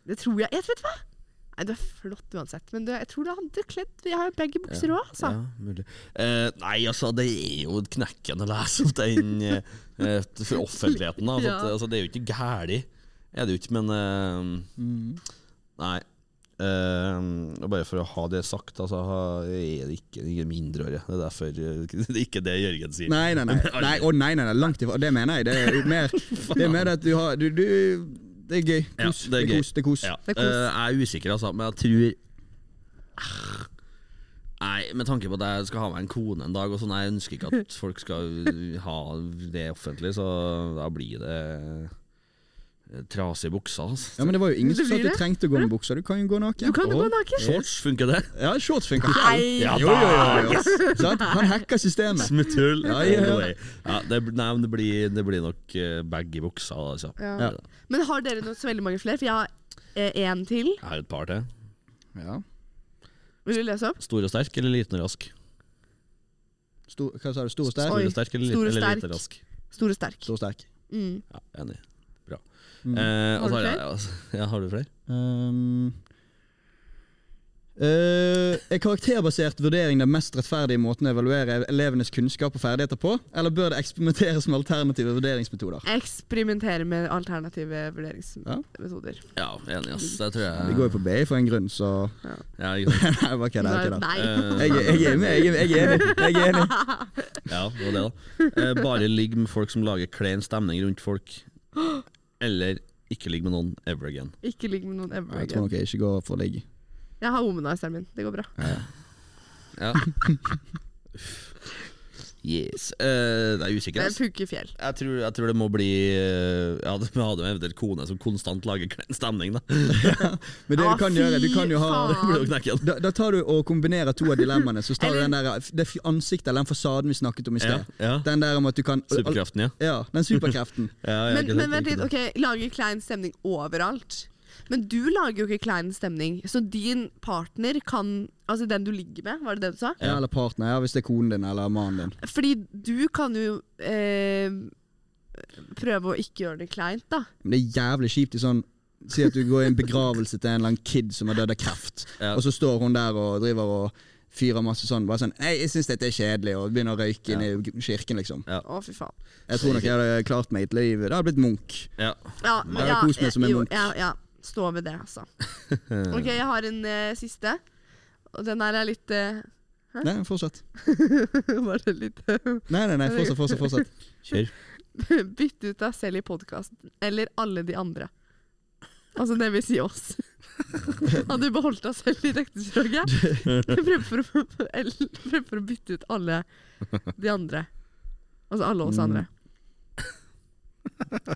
Det tror jeg. jeg vet du hva? Nei, Du er flott uansett, men du, jeg tror du hadde kledd Jeg har jo begge bukser òg, altså.
Ja, mulig. Eh, nei, altså, det er jo knekkende å lese opp den eh, eh, for offentligheten. Da, for at,
Ja.
altså, det er jo ikke gæli, er det jo ikke, men eh,
Mm.
Nei. Eh, og bare for å ha det sagt, altså, ha- jeg er det ikke, ikke mindreårig. Det er derfor eh, det er ikke det Jørgen sier.
Nei, nei, nei. nei, å, nei, nei, nei. Langt ifra. Det mener jeg. Det er jo mer det er mer at du har du, du, Det er gøy.
Ja,
Kos.
det er gøy.
kos. Det er kos.
Ja.
Det er
Eh,
kos.
jeg er usikker, altså, men jeg tror Ah. Nei, med tanke på at jeg skal ha meg en kone en dag, og sånn, jeg ønsker ikke at folk skal ha det offentlig, så da blir det eh, trasige bukser. Altså.
Ja, men det var jo ingen som
Det
sa at
blir
du
det.
trengte å gå med bukser. Du kan jo gå naken.
Du kan jo gå naken.
Shorts, funker det?
Ja, shorts funker.
Nei. Ja,
jo, jo, jo, jo. Sant? Han hacker systemet.
Smutthull.
Ja, ja, ja.
Ja, det, nei, men det blir, det blir nok eh, baggy bukser, altså.
Ja.
Ja.
Men har dere noe så veldig mange flere? For jeg har én til.
Jeg har et par til.
Ja.
Vil du lese opp?
Stor og sterk eller liten og rask?
Stor, hva sa du? Stor og
Stor
sterk?
Oi.
og sterk eller,
Stor og
liten- eller liten
sterk.
og rask?
Stor og sterk.
Stor og sterk.
Mm.
Ja, enig. Bra. Eh, og
Har du
så har jeg- Ja, har du flere?
Um, eh, er karakterbasert vurdering den mest rettferdige måten å evaluere elevenes kunnskap og ferdigheter på, eller bør det eksperimenteres med alternative vurderingsmetoder?
Eksperimentere med alternative vurderingsmetoder.
Ja, enig, ass. Det tror jeg
Vi går jo på BI for en grunn, så
Ja, ikke sant.
Nei, bare kødder. jeg kødder.
Nei.
Eh,
Jeg, er- jeg er med, jeg er jeg er enig. Jeg er enig.
ja, det var det, da. Eh, bare ligg med folk som lager klein stemning rundt folk. Eller ikke ligg med noen ever again.
Ikke ligg med noen ever
Jeg tror
again.
nok jeg ikke går for ligg.
Jeg har womanizeren min. Det går bra.
Ja. Yes. Eh, det er usikker,
Det
ass.
funker fjell.
Jeg tror, jeg tror det må bli eh, Ja, det må ha det med eventuelt kone som konstant lager klein stemning, da.
Men det
Ah,
du kan gjøre, du
fy
kan jo ha
faen.
Det blir jo knekken.
da, da tar du og kombinerer to av dilemmaene. Så tar du
Eller-
den der, eh, det f- ansiktet eller den fasaden vi snakket om i sted.
Ja, ja.
Den der om at du kan
Superkraften, ja.
Ja, den superkreften.
ja, ja
Men,
ikke sant,
men vent
ikke
litt,
sant.
ok, lager klein stemning overalt. Men du lager jo ikke klein stemning, så din partner kan Altså den du ligger med, var det det du sa?
Ja, eller partner, ja, hvis det er konen din eller mannen din.
Fordi du kan jo eh, prøve å ikke gjøre det kleint, da.
Men det er jævlig kjipt i sånn Si at du går i en begravelse til en eller annen kid som har dødd av kreft,
Ja.
og så står hun der og driver og fyrer masse sånn. Bare sånn 'Nei, jeg syns dette er kjedelig', og begynner å røyke inn i kirken, liksom.
Å, fy faen.
Jeg tror nok jeg hadde klart meg et liv. Det hadde blitt Munch.
Ja.
Ja, eh,
Bare kos meg som en
jo,
munk.
Ja, ja. Stå ved det, altså.
Mm.
Ok, jeg har en eh, siste. Og den her er litt eh,
Nei, fortsett.
Var det litt eh,
Nei, nei, nei, fortsett, fortsett. fortsett.
Kjør.
Bytte ut deg selv i podkasten, eller alle de andre. Altså, det vil si oss. Hadde du beholdt deg selv i dekningsdraget? Fremfor, å- eller fremfor å bytte ut alle de andre. Altså alle oss andre.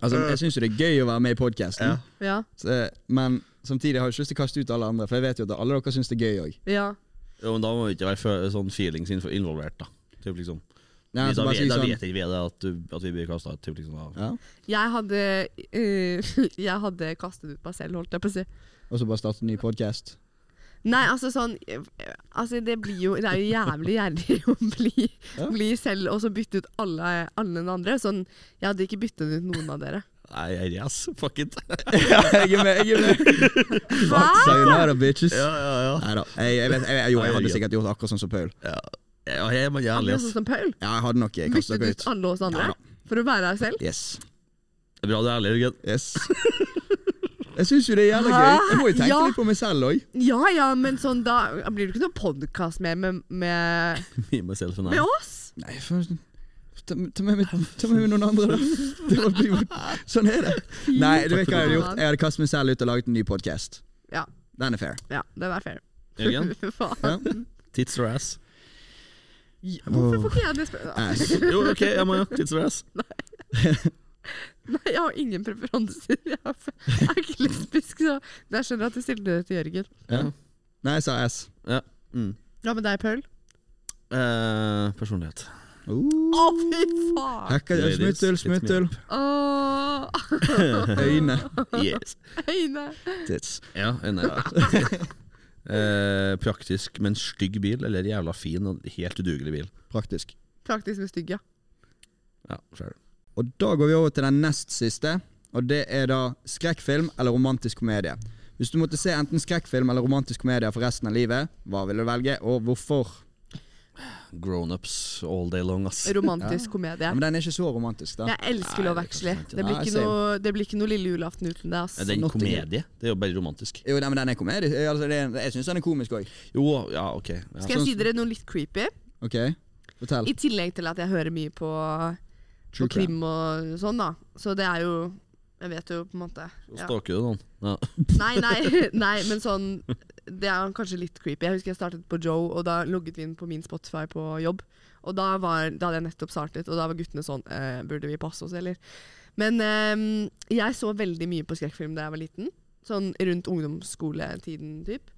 Altså, jeg syns jo det er gøy å være med i podkasten,
Ja.
Ja.
eh, men samtidig har jeg ikke lyst til å kaste ut alle andre, for jeg vet jo at alle dere syns det er gøy òg.
ja.
Jo, men da må vi ikke være fø- sånn feelings inv- involvert, da. Typ liksom.
Nei, altså,
da,
bare
vet,
si
da
sånn-
vet ikke vi det, at, du, at vi blir kasta ut. Typ liksom, da.
Ja.
Jeg hadde eh, Jeg hadde kastet ut meg selv, holdt jeg på å si.
Og så bare starte en ny podkast.
Nei, altså sånn eh, Altså Det blir jo Det er jo jævlig gjerrig å bli,
Ja.
bli selv og så bytte ut alle, alle den andre. Sånn Jeg hadde ikke byttet ut noen av dere.
Nei, yes, fuck it.
jeg er med, jeg er med!
Hva?
Sayonara, bitches.
ja, ja, ja.
Nei da. Jeg, jeg, vet- jeg, jeg, jo, jeg hadde sikkert gjort akkurat sånn som Paul.
ja. ja jeg er man
Han
jævlig,
er
ass.
sånn som Paul.
Ja, jeg hadde nok eh, kastet
Byttet
dere
ut
ut.
alle oss andre
Ja da.
for å være deg selv.
Yes.
Det er Bra du er ærlig, Jørgen.
Yes. Jeg syns jo det er jævla gøy. Jeg må jo tenke
Ja.
litt på meg selv òg.
Ja ja, men sånn da blir det ikke noen podkast mer med, med,
Me, myself and I.
med oss.
Nei, for, ta, ta, med, meg- ta med meg noen andre, da. Det var- blir jo- sånn er det. Nei, du vet hva jeg hadde gjort? Jeg hadde kastet meg selv ut og laget en ny podkast.
Ja.
Den er fair.
Ja, den er fair.
Jørgen,
Faen.
Ja.
tits or ass?
Hvorfor får ikke jeg det spørsmålet?
Ass.
Jo, ok, jeg må jo. Tits or ass.
Nei, jeg har ingen preferanser. Jeg er f- jeg er ikke lesbisk, så men jeg skjønner at du stilte det til Jørgen.
Ja. Nei, jeg sa ass.
Ja. Mm.
Hva med deg, Paul?
Eh, personlighet.
Uh.
Å, fy faen!
Hekka,
Ladies,
smuttull,
it's me.
smuttull.
Åh,
Øyne.
Yes.
Øyne.
Tits.
Ja, nei. Eh, praktisk, men stygg bil, eller jævla fin og helt udugelig bil.
Praktisk.
Praktisk med stygg, ja.
Ja, skjer det.
Og da går vi over til den nest siste, og det er da skrekkfilm eller romantisk komedie. Hvis du måtte se enten skrekkfilm eller romantisk komedie for resten av livet, hva vil du velge, og hvorfor?
Grownups all day long, ass.
Romantisk komedie.
Ja, men den er ikke så romantisk, da.
Jeg elsker Love Actually. Det blir,
Nei,
ikke
same.
noe, det blir ikke noe lille julaften uten det, ass.
Er det en
Not in-
komedie? Det er jo bare romantisk.
Jo, nei, men den er komedie. Eh, Altså, det er, jeg syns den er komisk òg.
Jo, ja, ok. Ja.
Skal jeg si dere noe litt creepy?
OK, fortell.
I tillegg til at jeg hører mye på, på
True crime.
krim og sånn, da. Så det er jo Jeg vet jo på en måte.
Så
Ja.
Stalker du noen? Ja.
Nei, nei, nei, men sånn Det er kanskje litt creepy. Jeg husker jeg startet på Joe, og da logget vi inn på min Spotify på jobb. Og da, var, da hadde jeg nettopp startet, og da var guttene sånn eh, Burde vi passe oss, eller? Men eh, jeg så veldig mye på skrekkfilm da jeg var liten. Sånn rundt ungdomsskoletiden, typ.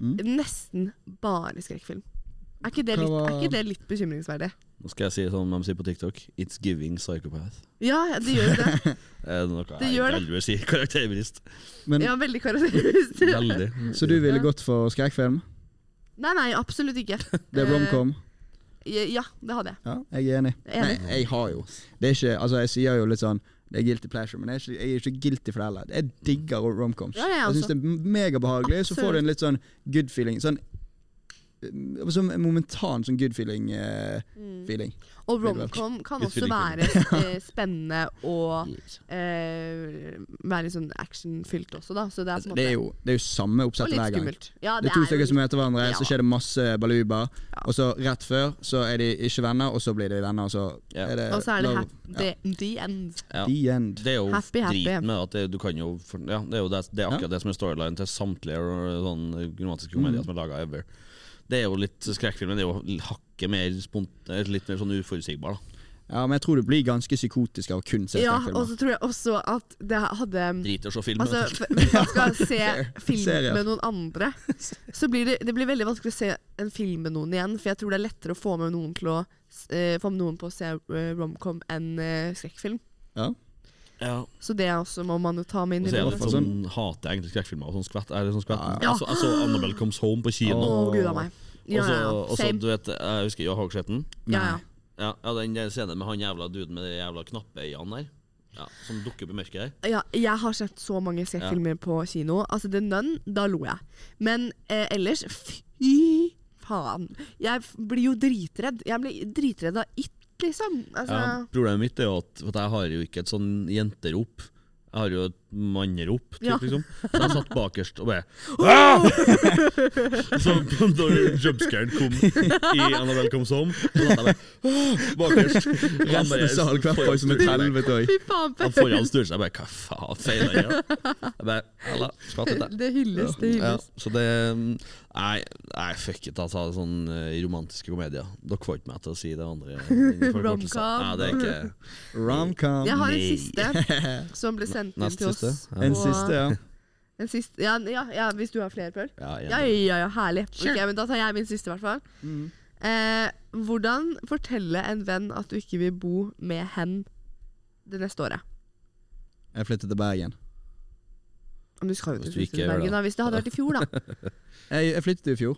Nesten bare skrekkfilm. Er ikke, det
Mm. Hva
litt, er
var-
ikke det litt bekymringsverdig?
Nå skal jeg si sånn de sier på TikTok. It's giving psychopath.
Ja, det gjør jo det.
Er det noe
Det
jeg
gjør det.
aldri vil si? Karakterbrist.
Men,
Ja, veldig karakteristisk.
Veldig.
så du ville gått for skrekkfilm?
Nei, nei, absolutt ikke.
Det er romcom?
Eh, Ja, det hadde jeg.
Ja, jeg er enig.
Jeg er enig.
Nei, jeg har jo Det er ikke, altså Jeg sier jo litt sånn det er guilty pleasure, men jeg er ikke, jeg er ikke guilty for det heller. Jeg digger romcoms.
Ja, altså. jeg
jeg syns
også.
det er megabehagelig. Så får du en litt sånn good feeling. Sånn eh, sånn en momentan sånn good feeling. eh,
Mm.
feeling.
Og
Veldig vel.
romcom kan
Litt
også
fyllik,
være eh, spennende og eh, være litt sånn actionfylt også, da. Så det er på en måte
Altså, Det, er jo, det er jo samme
og
oppsettet
litt
hver gang.
skummelt. Ja,
Det er to stykker som møter hverandre,
Ja.
så skjer det masse baluba. Og så rett før så er de ikke venner, og så blir de venner, og så
Ja.
er det
Og så er det
love.
hap the, the end.
Ja.
The end.
Det er jo
Happy, happy.
driten med at det, du kan jo for- ja, Det er jo det, det er akkurat det som er storyline til samtlige ro- sånn romantiske komedier som er laga ever. Det er jo litt skrekkfilmen. Det er jo hakket mer spont- eh, litt mer sånn uforutsigbar, da.
Ja, men jeg tror du blir ganske psykotisk av å kun se
Ja,
skrekkfilmer.
og så tror jeg også at det hadde
Drit i å se film.
Altså,
vet du.
f- Hvis man skal se film
Serier.
med noen andre, så blir det, det blir veldig vanskelig å se en film med noen igjen. For jeg tror det er lettere å få med noen, til å, s- eh, få med noen på å se eh, romcom enn eh, skrekkfilm.
Ja.
ja.
Så det også må man jo ta med inn
Og
i
så er
bildet.
det
for
litt
sånn-
sånn hater jeg egentlig skrekkfilmer og sånn skvett. Er det sånn skvett?
Ja,
ja.
Jeg, så, jeg så Annabelle Comes Home på kino.
Å, gud a meg. Ja,
og så,
ja, ja.
og så,
Same.
du vet, jeg husker Jo Hagsletten.
Ja, ja.
Ja, ja, den der scenen med han jævla duden med de jævla knappeøynene der. Ja, som dukker opp i mørket der.
Ja, jeg har sett så mange skrekkfilmer på kino. Altså, The Nun, da lo jeg. Men eh, ellers, fy faen. Jeg f- blir jo dritredd. Jeg blir dritredd av It, liksom. Altså,
Ja, problemet mitt er jo at, for at jeg har jo ikke et sånn jenterop. Jeg har jo et mannerop, typ,
Ja.
liksom. Så jeg satt bakerst og bare «Ah!» Så da jumpscaren kom i Annabelle Comes Home, så satt jeg bare «Ah!» bakerst. Og han
Resten
bare
av salen klapper jo som et
foran-
helvete òg.
Fy faen,
Han foran snur seg og bare Hva faen feiler jeg? gjør?» Jeg bare Halla, skvattet jeg.
Det hylles, det
Ja,
hylles.
så det um, Nei, nei fuck it, altså. Sånn eh, romantiske komedier. Dere får ikke meg til å si det andre. i forkortelser.
Romcom.
Nei, det er ikke
Romcom.
Jeg har en
Nei.
siste som ble sendt inn
Nest
til
siste.
oss.
Ja.
En
Og-
siste, ja.
En siste, ja, ja, ja, hvis du har flere, Pøl.
Ja, Mm. jeg er
Ja,
enig.
ja, ja, herlig. Ok, men Da tar jeg min siste, i hvert fall. Eh, hvordan fortelle en venn at du ikke vil bo med hen det neste året?
Jeg flyttet til Bergen.
Om du skal jo til
Hvis du ikke
Tromsø,
gjør det.
Bergen, da. Hvis det hadde vært i fjor, da.
Jeg, jeg flyttet i fjor.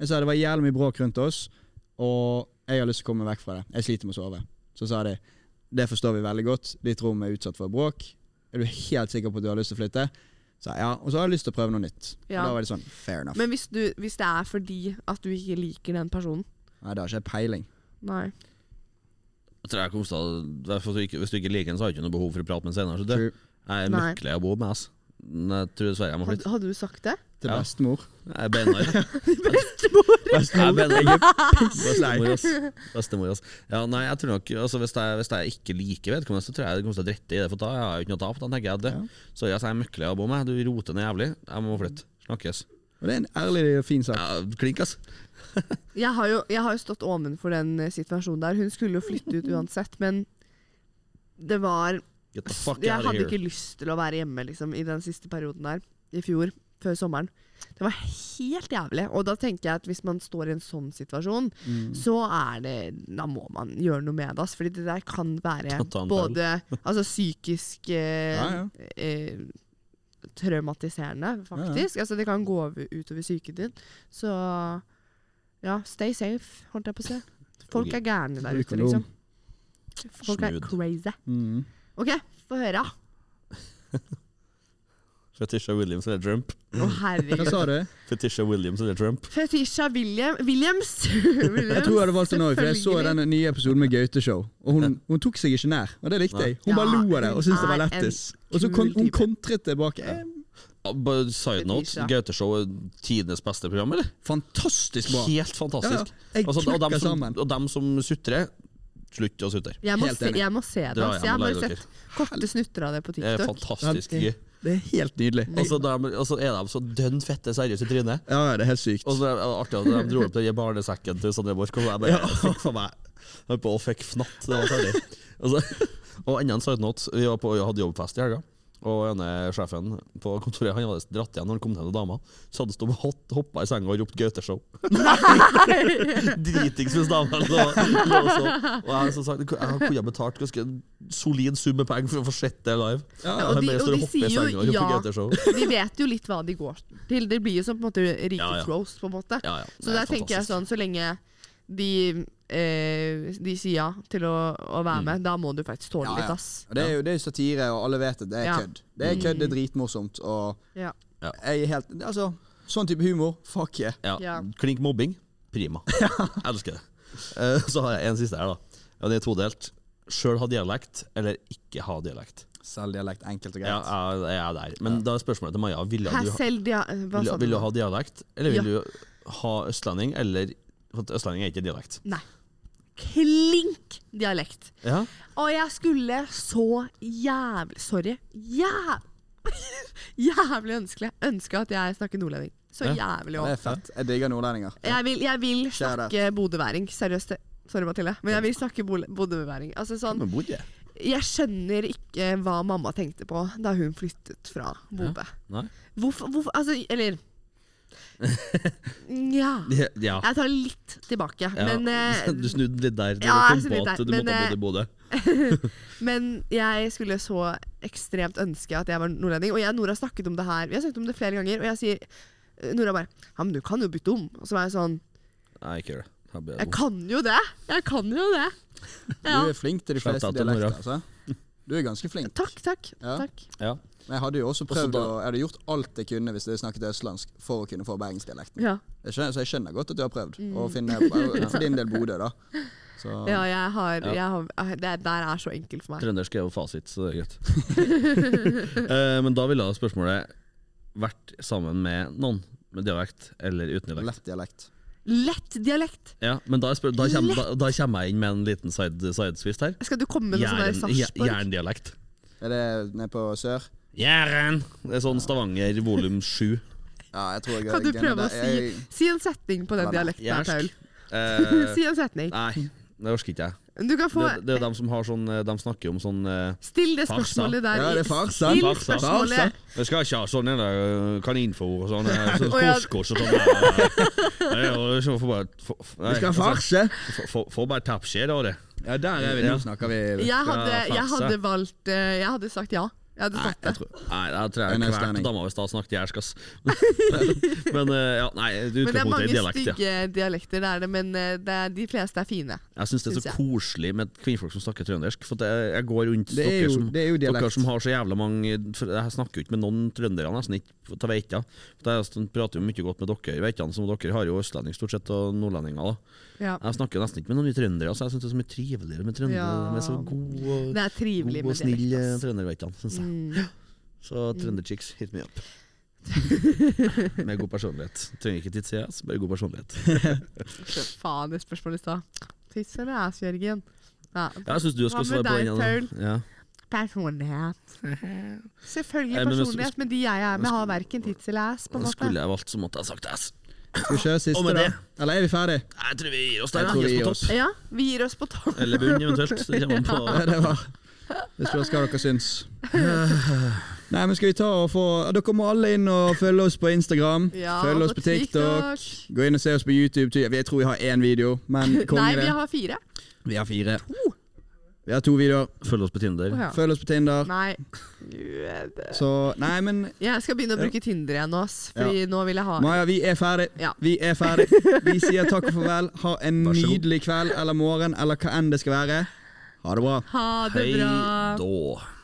Jeg sa det var jævlig mye bråk rundt oss, og jeg har lyst til å komme meg vekk fra det. Jeg sliter med å sove. Så sa de det forstår vi veldig godt, ditt rom er utsatt for bråk. Er du helt sikker på at du har lyst til å flytte? Sa jeg ja, og så har jeg lyst til å prøve noe nytt.
Ja.
Og da var det sånn fair enough.
Men hvis, du, hvis det er fordi at du ikke liker den personen
Nei, det har ikke jeg peiling.
Nei.
Jeg tror jeg kommer til å- det er for at du ikke- Hvis du ikke liker den, så har du ikke noe behov for å prate med den senere. Så det,
True.
jeg er
Nei.
lykkelig å bo med ass. Men Jeg tror dessverre jeg må
Hadde,
flytte.
hadde du sagt det?
Til
Ja.
bestemor.
Jeg er beinhard.
Bestemor!
Jeg er beinhard.
Nei.
Bestemor, ass. Bestemor, ass. Ja, nei, jeg tror nok altså, hvis, jeg, hvis jeg ikke liker vedkommende, så tror jeg det kommer til å drette i det. For da har jeg jo ikke noe tap. Da tenker jeg at det. Sorry, ass, jeg er møkkelig å bo med. Du roter ned jævlig. Jeg må flytte. Snakkes.
Og det er en ærlig og fin sak.
Ja, klink, ass.
Jeg har jo, jeg har jo stått ovenfor den eh, situasjonen der. Hun skulle jo flytte ut uansett, men det var
Get the fuck
Jeg
out of
hadde
here.
ikke lyst til å være hjemme liksom, i den siste perioden der, i fjor, før sommeren. Det var helt jævlig. Og da tenker jeg at hvis man står i en sånn situasjon,
Mm.
så er det Da må man gjøre noe med det. ass, Fordi det der kan være
Ta en feil.
både altså, psykisk eh,
Ja,
eh, traumatiserende, faktisk. Altså, det kan gå over- utover psyken din. Så ja, stay safe, holdt jeg på å si. Folk er gærne der
Bruk
ute,
kondom.
liksom. Folk er
Smooth.
crazy.
Mm.
OK, få høre.
Fetisha Williams eller Trump?
Å,
Mm. Hva
herregud.
sa du?
Fetisha Williams eller Trump?
Fetisha William, Williams. Williams.
Jeg tror jeg hadde valgt den òg, for jeg så
selvfølgelig.
den nye episoden med Gaute-show. Og hun, hun tok seg ikke nær, og det likte jeg. Hun
Ja,
bare lo av det og syntes det var
hun er
lættis.
en
Og så kon
kul
hun
type.
kontret tilbake. Eh,
Ah, bare Side note,
Fetisha.
Gauteshow er tidenes beste program, eller?
Fantastisk bra!
Helt fantastisk. Altså,
Ja, ja. Jeg
og,
knekker
dem som,
sammen.
og dem som sutrer, slutt å sutre.
Jeg må,
Helt
se,
enig.
jeg må se det.
Dra
ass. Jeg har
hjem og
bare
lag dere.
sett korte snutter av det på
Det er
TikTok.
fantastisk
Ja,
gøy.
det- Det er helt nydelig.
Og så dem- og så er de så dønn fette seriøse i trynet.
Ja, ja, det er helt sykt.
Og så er det artig at de dro opp den barnesekken til Sandra Borch, og jeg bare fikk for meg Jeg holdt på og fikk fnatt. Det var ferdig. Og, så, og enda en side note. Vi var på, jeg hadde jobbfest i helga. Og ene sjefen på kontoret Han hadde dratt igjen når han kom til en dame. Så hadde han stått og hoppa i senga og ropt Gauteshow. Dritings hvis dama lå lå og sov. Og jeg, som sagt, jeg kunne ha betalt ganske solid sum med penger for å få sett det live.
ja. Og de-
bare
og
står
de
hopper i
sier jo
senga og roper
ja.
Gauteshow.
De vet jo litt hva de går til. Det blir jo som på en måte rikets
Ja, ja.
roast, på en måte.
Ja, ja.
Så
Det er
der tenker jeg
fantastisk.
sånn, så lenge de, eh, de sier ja til å, å
Mm.
være med, da må du faktisk tåle
Ja, ja.
litt, ass.
Og Det er jo det er jo satire, og alle vet at det er
Ja. Mm.
kødd. Det er kødd, det er dritmorsomt, og
Ja.
jeg er helt Altså, sånn type humor, fuck yeah.
Ja.
Ja.
Klink mobbing, prima. Elsker det. Eh, så har jeg en siste her, da. Og det er todelt. Sjøl ha dialekt, eller ikke ha dialekt.
Selvdialekt, enkelt og
Ja,
greit.
jeg, jeg er der. Men da er spørsmålet til Maja. Ville
Her
du, ha-
selv de har- Hva
vil,
sa
vil du
du?
ha dialekt, eller vil
Ja.
du ha østlending, eller for at Østlending er ikke dialekt.
Nei. Klink dialekt.
Ja.
Og jeg skulle så jævlig Sorry. Jæv... jævlig ønskelig. Ønske at jeg snakker nordlending. Så
Ja.
jævlig
Det
òg.
er fett. Jeg digger nordlendinger.
Jeg vil, jeg vil
Shout out.
snakke bodøværing. Seriøst. det- Sorry, Mathilde. Men jeg vil snakke bol- bodøværing. Altså sånn
Men bodde jeg?
Jeg skjønner ikke hva mamma tenkte på da hun flyttet fra Bodø.
Nei.
Hvorfor, hvorfor Altså, eller Nja.
Ja.
Jeg tar litt tilbake.
ja.
Men, eh,
du snudde litt der.
ja,
Ja,
jeg
du kom
snudde
på
litt
at
der,
du
men,
måtte ha
eh,
bodd i Bodø.
Men jeg skulle så ekstremt ønske at jeg var nordlending. Og jeg og Nora har snakket om det her Vi har snakket om det flere ganger. Og jeg sier eh, Nora bare Ja, men du kan jo bytte om. Og så var jeg sånn
Nei, ikke gjør det. Her blir
Jeg
det.
kan jo det! Jeg kan jo det! Ja.
Du er flink til de
Shout
fleste
out til Nora.
dialekter, altså. Du er ganske flink.
Takk, takk.
Ja.
takk.
Ja.
Men jeg hadde jo også prøvd
da-
å Jeg hadde gjort alt jeg kunne hvis jeg snakket østlandsk for å kunne få bergensdialekten.
Ja.
Jeg skjønner, så jeg skjønner godt at du har prøvd å finne For din del Bodø, da. Så,
Ja, jeg har, jeg har Det der er så enkelt for meg.
Trøndersk er jo fasit, så det er greit. Eh, men da ville da spørsmålet vært sammen med noen med dialekt eller uten dialekt.
Lett dialekt.
Lett dialekt!
Ja, men da, er spør da, kommer, da, da kommer jeg inn med en liten side, side twist her.
Skal du komme med noe sånn der
Jæren- jæ-
Sarpsborg?
Jæren-dialekt.
Er det nede på sør?
Jæren! Det er sånn Stavanger volum sju.
Ja, jeg tror jeg
Kan du
jeg-
prøve å si,
jeg-
si en setning på den
Nei, nei.
dialekten her, Paul?
Eh,
Si en setning.
nei, det orker ikke jeg.
Du kan få
Det, det er jo dem som har sånn eh, De snakker om sånn eh,
Still det
Farsa.
spørsmålet der.
Ja,
i-
det er farsa.
Still
Farsa.
spørsmålet.
Vi skal ikke ha sånn en der, eh, kaninfôr og sånn. eh, Sånn
Å, ja.
korskors og sånn. eh, eh, og så får bare- får- får- nei,
Vi skal ha
altså,
farse!
får- får- Får bare tapskje, da, det.
Ja, der er vi.
Ja.
Nå snakker vi.
Jeg hadde,
Farsa.
jeg hadde valgt eh, Jeg hadde sagt ja. Jeg hadde
Nei,
sagt
jeg
det.
tror
Nei, da tror
En
jeg
østlending.
hvert dama hvis da snakket jærsk, ass. Men eh, ja, nei,
Men det er
utgangspunktet
mange
er dialekt, ja.
stygge dialekter, det er det, men eh, det er, de fleste er fine.
Jeg syns det er
Synes jeg.
så koselig med kvinnfolk som snakker trøndersk. For det, jeg går rundt
Det er
dere,
jo-
som,
det er jo dialekt.
dere som har så jævla mange for Jeg snakker jo ikke med noen trøndere, nesten ikke. Da vet jeg. For jeg st- prater jo mye godt med dere, vet jeg, som dere har jo østlending stort sett, og nordlendinger. da
Ja.
Jeg snakker jo nesten ikke med noen trøndere, så jeg syns det er så mye triveligere med trøndere.
Ja.
De er så gode og,
Det er trivelig
god og
med
snill eh,
dialekt. ass.
trøndere, vet jeg, synes jeg.
Mm.
Så trønderchicks, hit me up. med god personlighet. Trenger ikke tidsida, bare god personlighet.
Så Faen, det spørsmålet i stad. Tiss eller ass, Jørgen? Ja.
Jeg syns du
Hva
skal
med
svare på
deg,
den. Paul? Ja.
Personlighet. Selvfølgelig
Nei, men hvis-
personlighet, men de jeg er med, har verken tits eller ass. på en
Men
måte.
Skulle jeg valgt, så måtte jeg sagt ass.
Skal vi kjøre
Og
siste,
med
da?
det-
Eller er vi ferdig?
Jeg tror vi gir oss
Jeg
der.
tror vi
gir oss
gir
på topp.
Ja, vi gir oss på topp.
Eller bunn, eventuelt. Det kommer an
Ja,
på.
det var Jeg spør hva dere syns. Nei, men skal vi ta og få Dere må alle inn og følge oss på Instagram.
Ja,
følge oss på TikTok. Gå inn og se oss på YouTube. Ty- Jeg tror vi har én video, men
Nei,
konge
vi
det.
har fire.
Vi har fire. Vi har to videoer.
Følg oss på Tinder.
Å, ja.
Følg oss på Tinder.
Nei. Gud.
Så Nei, men
Jeg skal begynne å bruke Tinder igjen nå, ass, fordi nå vil jeg ha
Maja, vi er ferdig.
Ja.
Vi er ferdig. Vi sier takk og farvel. Ha en
Vær så god.
nydelig kveld eller morgen eller hva enn det skal være. Ha det bra.
Ha det bra.
da.